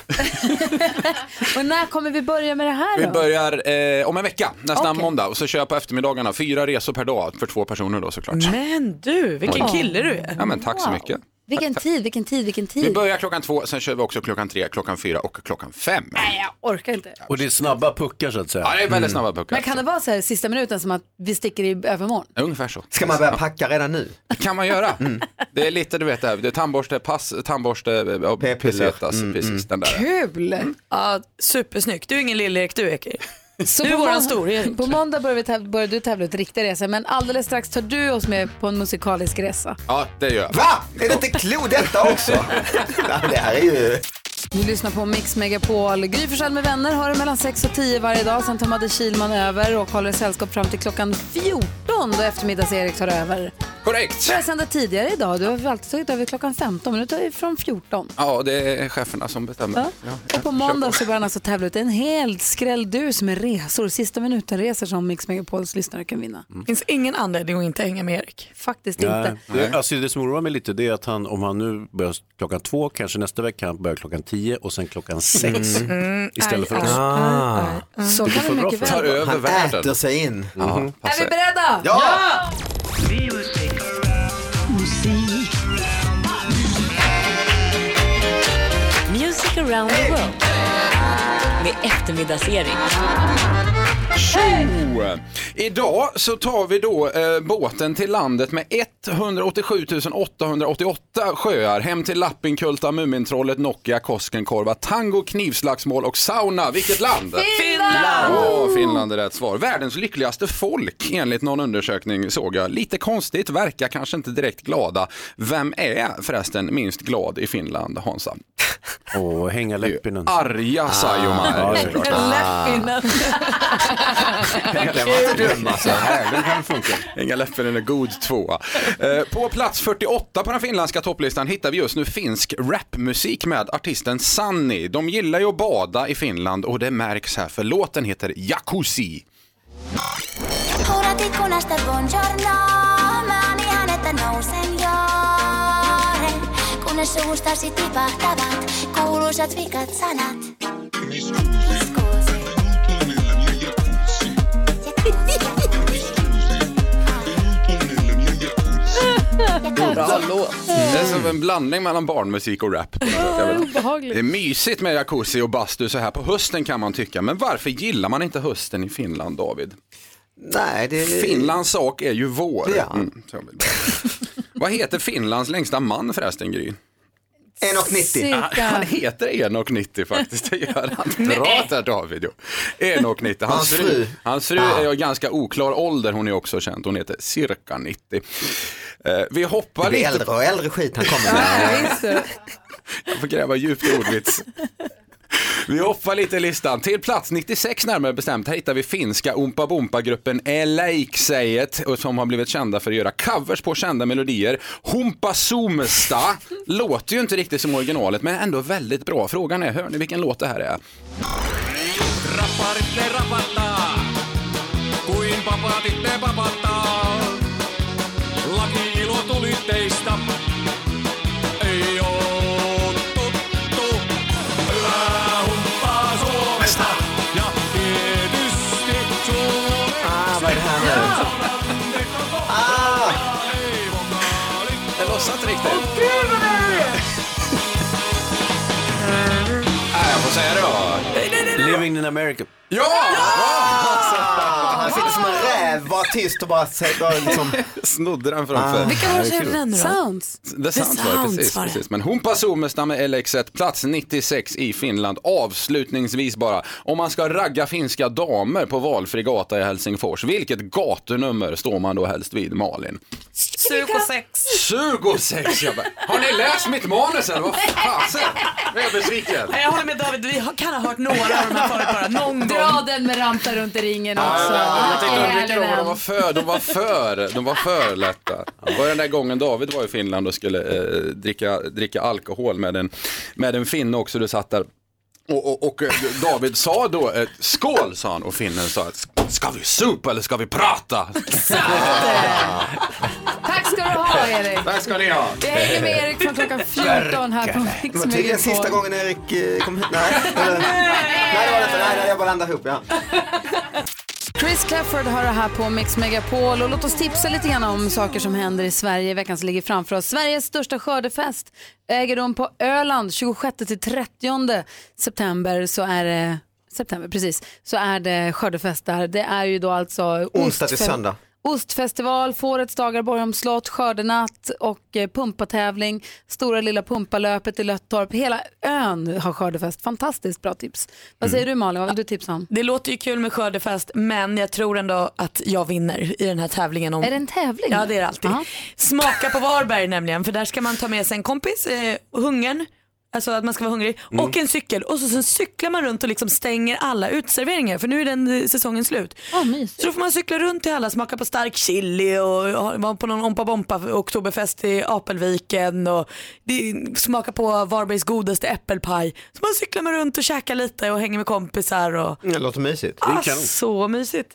S1: Och när kommer vi börja med det här
S15: Vi
S1: då?
S15: börjar eh, om en vecka, nästa
S1: Okej.
S15: måndag. Och så kör jag på eftermiddagarna, fyra resor per dag för två personer då såklart.
S2: Men du, vilken
S15: Oj.
S2: kille du är.
S15: Ja, men tack så mycket.
S1: Vilken tid, vilken tid, vilken tid.
S15: Vi börjar klockan två, sen kör vi också klockan tre, klockan fyra och klockan fem.
S1: Nej, jag orkar inte.
S3: Och det är snabba puckar så att säga. Mm.
S15: Ja, det är väldigt snabba
S1: Men
S15: puckar.
S1: kan det vara så här sista minuten som att vi sticker i övermorgon?
S15: Ungefär så.
S13: Ska man börja packa redan nu?
S15: kan man göra.
S3: Mm.
S15: Det är lite, du vet, det här, det är tandborste, pass, tandborste, och pesetas,
S3: Mm,
S15: precis den där.
S1: Kul!
S2: Ja, supersnyggt. Du är ingen lill-Erik, du Erik.
S1: Så
S2: du är
S1: på
S2: våran
S1: mån-
S2: stor-Erik.
S1: På måndag börjar, vi täv- börjar du tävla ut riktiga resor, men alldeles strax tar du oss med på en musikalisk resa.
S15: Ja, det gör jag.
S13: Va? Är det inte klokt detta också? Nej, det här är ju...
S1: Du lyssnar på Mix Megapol. Gry Forssell med vänner har det mellan 6 och 10 varje dag. Sen tar Madde Kilman över och håller sällskap fram till klockan 14 då eftermiddags-Erik tar över.
S15: Korrekt.
S1: Börjar sända tidigare idag. Du har väl alltid tagit över klockan 15, men nu tar vi från 14.
S15: Ja, det är cheferna som bestämmer.
S1: Ja.
S15: Ja.
S1: Och på måndag så börjar han alltså tävla ut en hel skrälldus med resor, sista minuten-resor som Mix Megapols lyssnare kan vinna.
S2: Det Mm. finns ingen anledning att inte hänga med Erik.
S1: Faktiskt
S3: Nej.
S1: inte.
S3: Det, alltså det som oroar mig lite det är att han, om han nu börjar klockan två, kanske nästa vecka, han börjar klockan tio och sen klockan sex
S1: Mm. Mm.
S3: istället för
S1: Aj,
S3: oss.
S1: aj,
S13: Ah. aj,
S1: aj. Så kan det mycket väl vara.
S13: Han äter sig in.
S3: Ja,
S1: Är vi beredda?
S13: Ja!
S4: Musik.
S16: Music around the world. Med eftermiddagsserie.
S15: Tjo! Idag så tar vi då eh, båten till landet med 187 888 sjöar hem till Lappinkulta, Mumintrollet, Nokia, Koskenkorva, tango, knivslagsmål och sauna. Vilket land?
S4: Finland!
S15: Åh, Finland är rätt svar. Världens lyckligaste folk enligt någon undersökning såg jag. Lite konstigt, verkar kanske inte direkt glada. Vem är förresten minst glad i Finland, Hansa?
S3: Åh, hänga läppinen.
S15: Arga Saijonmaa.
S3: Ah,
S15: är det såklart. Den var inte dum alltså. Här, den kan funka. Inga Leppinen är god tvåa. Eh, På plats 48 på den finländska topplistan hittar vi just nu finsk rapmusik med artisten Sanni. De gillar ju att bada i Finland och det märks här för låten heter Jacuzzi.
S4: Kuurat ikkunasta buongiorno, mä oon ihan, että nousen joren. Kunnes suustasi tipahtavat kuuluisat vikat sanat.
S15: Bra låt. Mm. Det är som en blandning mellan barnmusik och rap. Det är mysigt med jacuzzi och bastu så här på hösten kan man tycka. Men varför gillar man inte hösten i Finland, David?
S13: Nej, det...
S15: Finlands sak är ju vår.
S13: Ja.
S15: Mm, så jag vill bara- Vad heter Finlands längsta man förresten, Gry?
S13: 1,90.
S15: Ah, Han heter Enok 90 faktiskt, det gör han. Bra där David. jo. Enok 90, hans
S13: Hans fru.
S15: fru, hans fru är av ganska oklar ålder, hon är också känd, hon heter cirka 90. Eh, Vi hoppar
S13: Det blir
S15: lite.
S13: äldre och äldre skit han kommer
S15: Ja,
S13: med.
S15: visst. Jag får gräva djupt i ordvits. Vi hoppar lite i listan. Till plats 96 närmare bestämt, här hittar vi finska Oompa Boompa-gruppen Eläiksäjet och som har blivit kända för att göra covers på kända melodier. Humpa Zoomsta låter ju inte riktigt som originalet men ändå väldigt bra. Frågan är, hör ni vilken låt det här är?
S4: Rapparit ne rapattaa, kuin papatit ne papattaa. Laki ilo tuli teistä, ei oo tuttu. Hyvää humppaa Suomesta ja tietysti Suomesta. Ah, vad är det här nu? Ah!
S15: Det lossar inte riktigt. Åh
S4: gud vad det är!
S15: Nej, jag får säga det
S3: Living in America.
S15: Ja!
S13: Ah, han sitter som en räv, var tyst och bara säger bara liksom...
S15: Snodde den framför.
S1: Ah. Vilka var det
S15: Ja,
S1: som
S15: kul.
S1: gjorde den då? Sounds.
S15: The Sounds var det, precis. precis. Men Humpa Suomesta med LX1, plats 96 i Finland. Avslutningsvis bara, om man ska ragga finska damer på valfri gata i Helsingfors, vilket gatunummer står man då helst vid, Malin?
S9: Sug och sex.
S15: 26! Jag bara, har ni läst mitt manus eller vad fasen? Jag är besviken.
S9: Nej, Jag håller med David, vi har- kan ha hört några av de här förut bara. Någon gång.
S16: Dra den med ramta runt i ringen
S2: Alltså,
S16: också.
S15: Jag
S16: Ah,
S15: tänkte undvika dem, men de
S16: älven.
S15: var för, de var för, de var för lätta. Det var den där gången David var i Finland och skulle eh, dricka, dricka alkohol med en, med en finne också, du satt där. Och, och, och eh, David sa då eh, skål sa han och finnen sa ska vi supa eller ska vi prata?
S16: Tack ska du ha Erik.
S15: Tack ska ni ha.
S16: Vi hänger med Erik från klockan 14 här på Mix
S13: Det var tydligen
S16: Megapol.
S13: sista gången Erik eh, kom hit. Nej, eller- nej det var det inte. Nej, nej, jag bara landade ihop. Ja.
S1: Chris Clafford har det här på Mix Megapol och låt oss tipsa lite grann om saker som händer i Sverige i veckan som ligger framför oss. Sveriges största skördefest äger rum på Öland 26-30 september så är det September, precis. Så är det skördefest där. Det är ju då alltså
S13: Onsdag till
S1: ostfe-
S13: söndag.
S1: Ostfestival, Fårets dagar, Borgholms slott, skördenatt och eh, pumpatävling. Stora lilla pumpalöpet i Löttorp. Hela ön har skördefest. Fantastiskt bra tips.
S13: Mm.
S1: Vad säger du Malin, vad vill du tipsa om?
S9: Det låter ju kul med skördefest men jag tror ändå att jag vinner i den här tävlingen. Om...
S1: Är det en tävling?
S9: Ja det är det alltid. Smaka på Varberg nämligen för där ska man ta med sig en kompis, eh, hungern, Alltså att man ska vara hungrig.
S2: Mm.
S9: Och en cykel. Och så, så cyklar man runt och liksom stänger alla uteserveringar för nu är den eh, säsongen slut. så då får man cykla runt till alla, smaka på stark chili och ha- vara på någon Ompa Bompa oktoberfest i Apelviken och det- smaka på Varbergs godaste äppelpaj. Så man cyklar man runt och käkar lite och hänger med kompisar. Och...
S13: Det låter mysigt.
S9: Ah, så mysigt.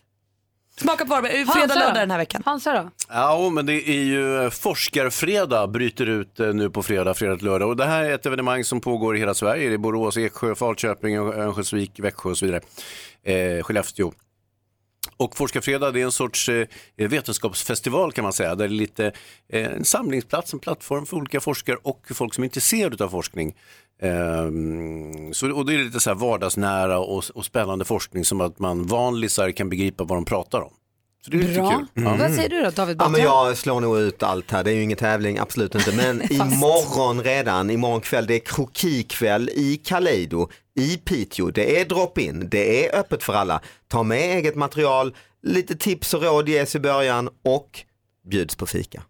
S9: Smaka på Varberg,
S1: Hansa
S9: fredag,
S1: då?
S9: lördag den här veckan.
S1: Hansa då?
S3: Ja, men det är ju eh, Forskarfredag bryter ut eh, nu på fredag, fredag till lördag. Och det här är ett evenemang som pågår i hela Sverige. Det är Borås, Eksjö, Falköping, Örnsköldsvik, Växjö och så vidare. Eh, Skellefteå. Och Forskarfredag det är en sorts eh, vetenskapsfestival kan man säga. Där det är lite eh, en samlingsplats, en plattform för olika forskare och folk som är intresserade av forskning. Ehm, så, och det är lite så här vardagsnära och, och spännande forskning som att man vanlisar kan begripa vad de pratar om. Så det är lite
S1: Bra.
S3: kul. Mm. Ja.
S1: Vad säger du då David?
S13: Ja, men
S1: Batra?
S13: jag slår nog ut allt här, det är ju ingen tävling, absolut inte. Men imorgon redan, imorgon kväll, det är krokikväll i Kaleido, i Piteå. Det är drop-in, det är öppet för alla. Ta med eget material, lite tips och råd ges i början och bjuds på fika.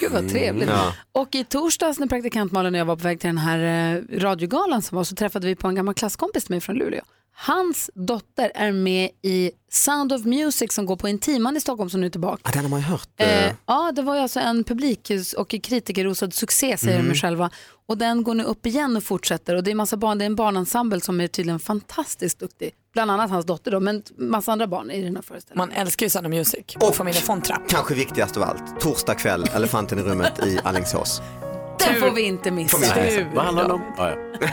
S1: Gud vad trevligt.
S13: Mm. Ja.
S1: Och i torsdags när praktikant Malin och jag var på väg till den här eh, radiogalan som var så träffade vi på en gammal klasskompis till mig från Luleå. Hans dotter är med i Sound of Music som går på Intiman i Stockholm som nu är tillbaka.
S13: Ja, den har man ju hört.
S1: Eh, ja, det var ju alltså en publik och kritikerrosad succé säger
S13: Mm.
S1: de ju själva. Och den går nu upp igen och fortsätter. Och det är, massa barn, det är en barnensemble som är tydligen fantastiskt duktig. Bland annat hans dotter då, men massa andra barn i den här föreställningen.
S9: Man älskar ju Sound of Music och familjen Fontra.
S13: Kanske viktigast av allt, torsdag kväll, Elefanten i rummet i Alingsås.
S1: Den får vi inte missa.
S13: Nej.
S1: Tur.
S13: Vad handlar det om?
S3: Ja, ja.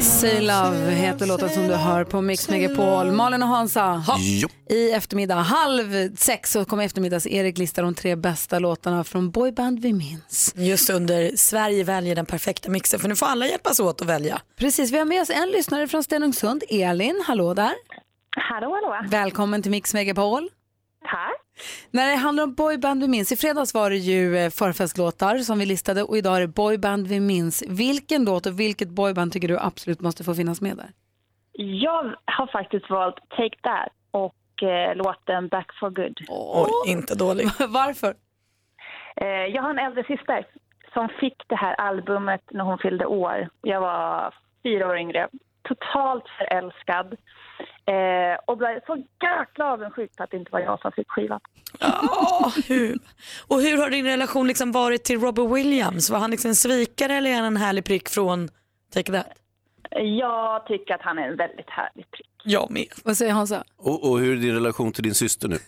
S1: Say Love heter låten som du hör på Mix Megapol. Malin och Hansa, hopp.
S4: Jo.
S1: i eftermiddag halv sex så kommer eftermiddags-Erik lista de tre bästa låtarna från boyband vi minns.
S9: Just under Sverige väljer den perfekta mixen för nu får alla hjälpas åt att välja.
S1: Precis, vi har med oss en lyssnare från Stenungsund, Elin. Hallå där. Hallå, hallå. Välkommen till Mix Megapol. Tack. När det handlar om boyband vi minns, i fredags var det ju eh, förfestlåtar som vi listade och idag är det boyband vi minns. Vilken låt och vilket boyband tycker du absolut måste få finnas med där?
S17: Jag har faktiskt valt Take That och eh, låten Back for Good.
S9: Oj, inte dålig.
S1: Varför?
S17: Eh, jag har en äldre syster som fick det här albumet när hon fyllde år. Jag var fyra år yngre. Totalt förälskad. Eh, och blev så jäkla avundsjuk på att det inte var jag som fick skivan.
S9: Åh, hur? Och hur har din relation liksom varit till Robert Williams? Var han liksom en svikare eller är han en härlig prick från Take That?
S17: Jag tycker att han är en väldigt härlig prick.
S9: Jag med.
S1: Vad säger Hansa?
S3: Och, och hur är din relation till din syster nu?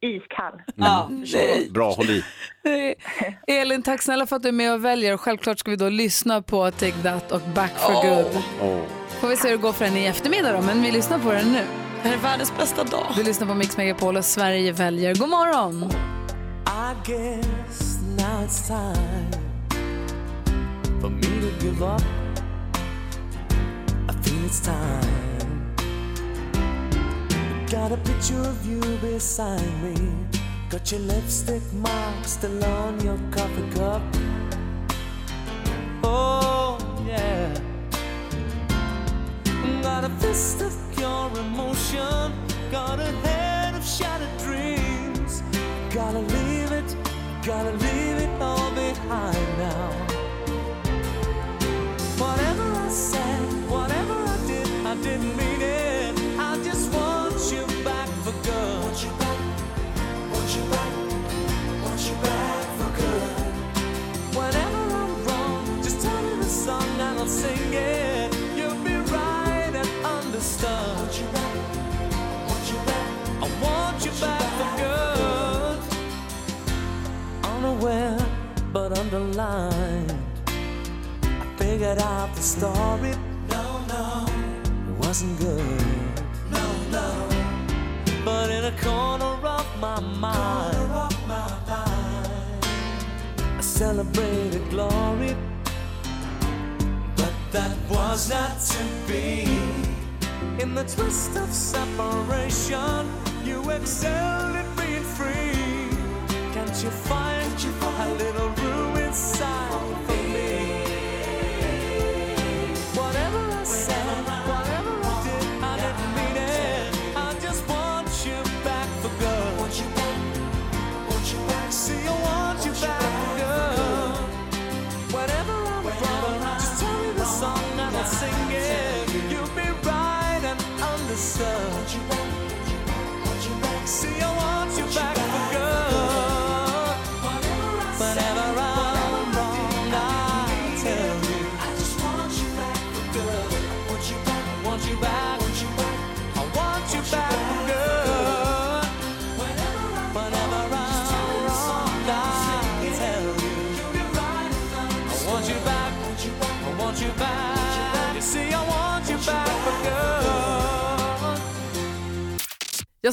S17: Iskall.
S3: Mm. Bra, håll i.
S1: Mm. Eh, Elin, tack snälla för att du är med och väljer. Och Självklart ska vi då lyssna på Take That och Back for Good. Får vi se hur det går för henne i eftermiddag då, men vi lyssnar på den nu.
S9: Det här är världens bästa dag.
S1: Du lyssnar på Mix Megapol och Sverige väljer. God morgon!
S4: I guess now it's time for me to give up. I feel it's time. Got a picture of you beside me. Got your lipstick mark still on your coffee cup. Oh, yeah. Got a fist of pure emotion. Got a head of shattered dreams. Gotta leave it, gotta leave it all behind now. Whatever I said, whatever I did, I didn't mean it. I just want you back for good. Want you back, want you back, want you back for good. Whenever I'm wrong, just tell me the song and I'll sing it. You'll be right and understood. Want you back, want you back, I want you back for good. Unaware but underlined, I figured out the story. No, no, it wasn't good. No, no, but in a corner of my mind. I celebrated glory, but that was not to be. In the twist of separation, you excelled at being free. Can't you find a little room inside for me? Whatever I said, whatever I did, I didn't mean it. I just want you back for good. Want you back, want you back. See, I want you yourself. See, I want you back for good. Whenever I'm wrong, I'll tell you. I just want you back for good. Want you back, want you back, want you back. I want you back for good. Whenever I'm wrong, I'll tell you. I want you back, I want you back. You see, I want you back for good.
S1: Ja,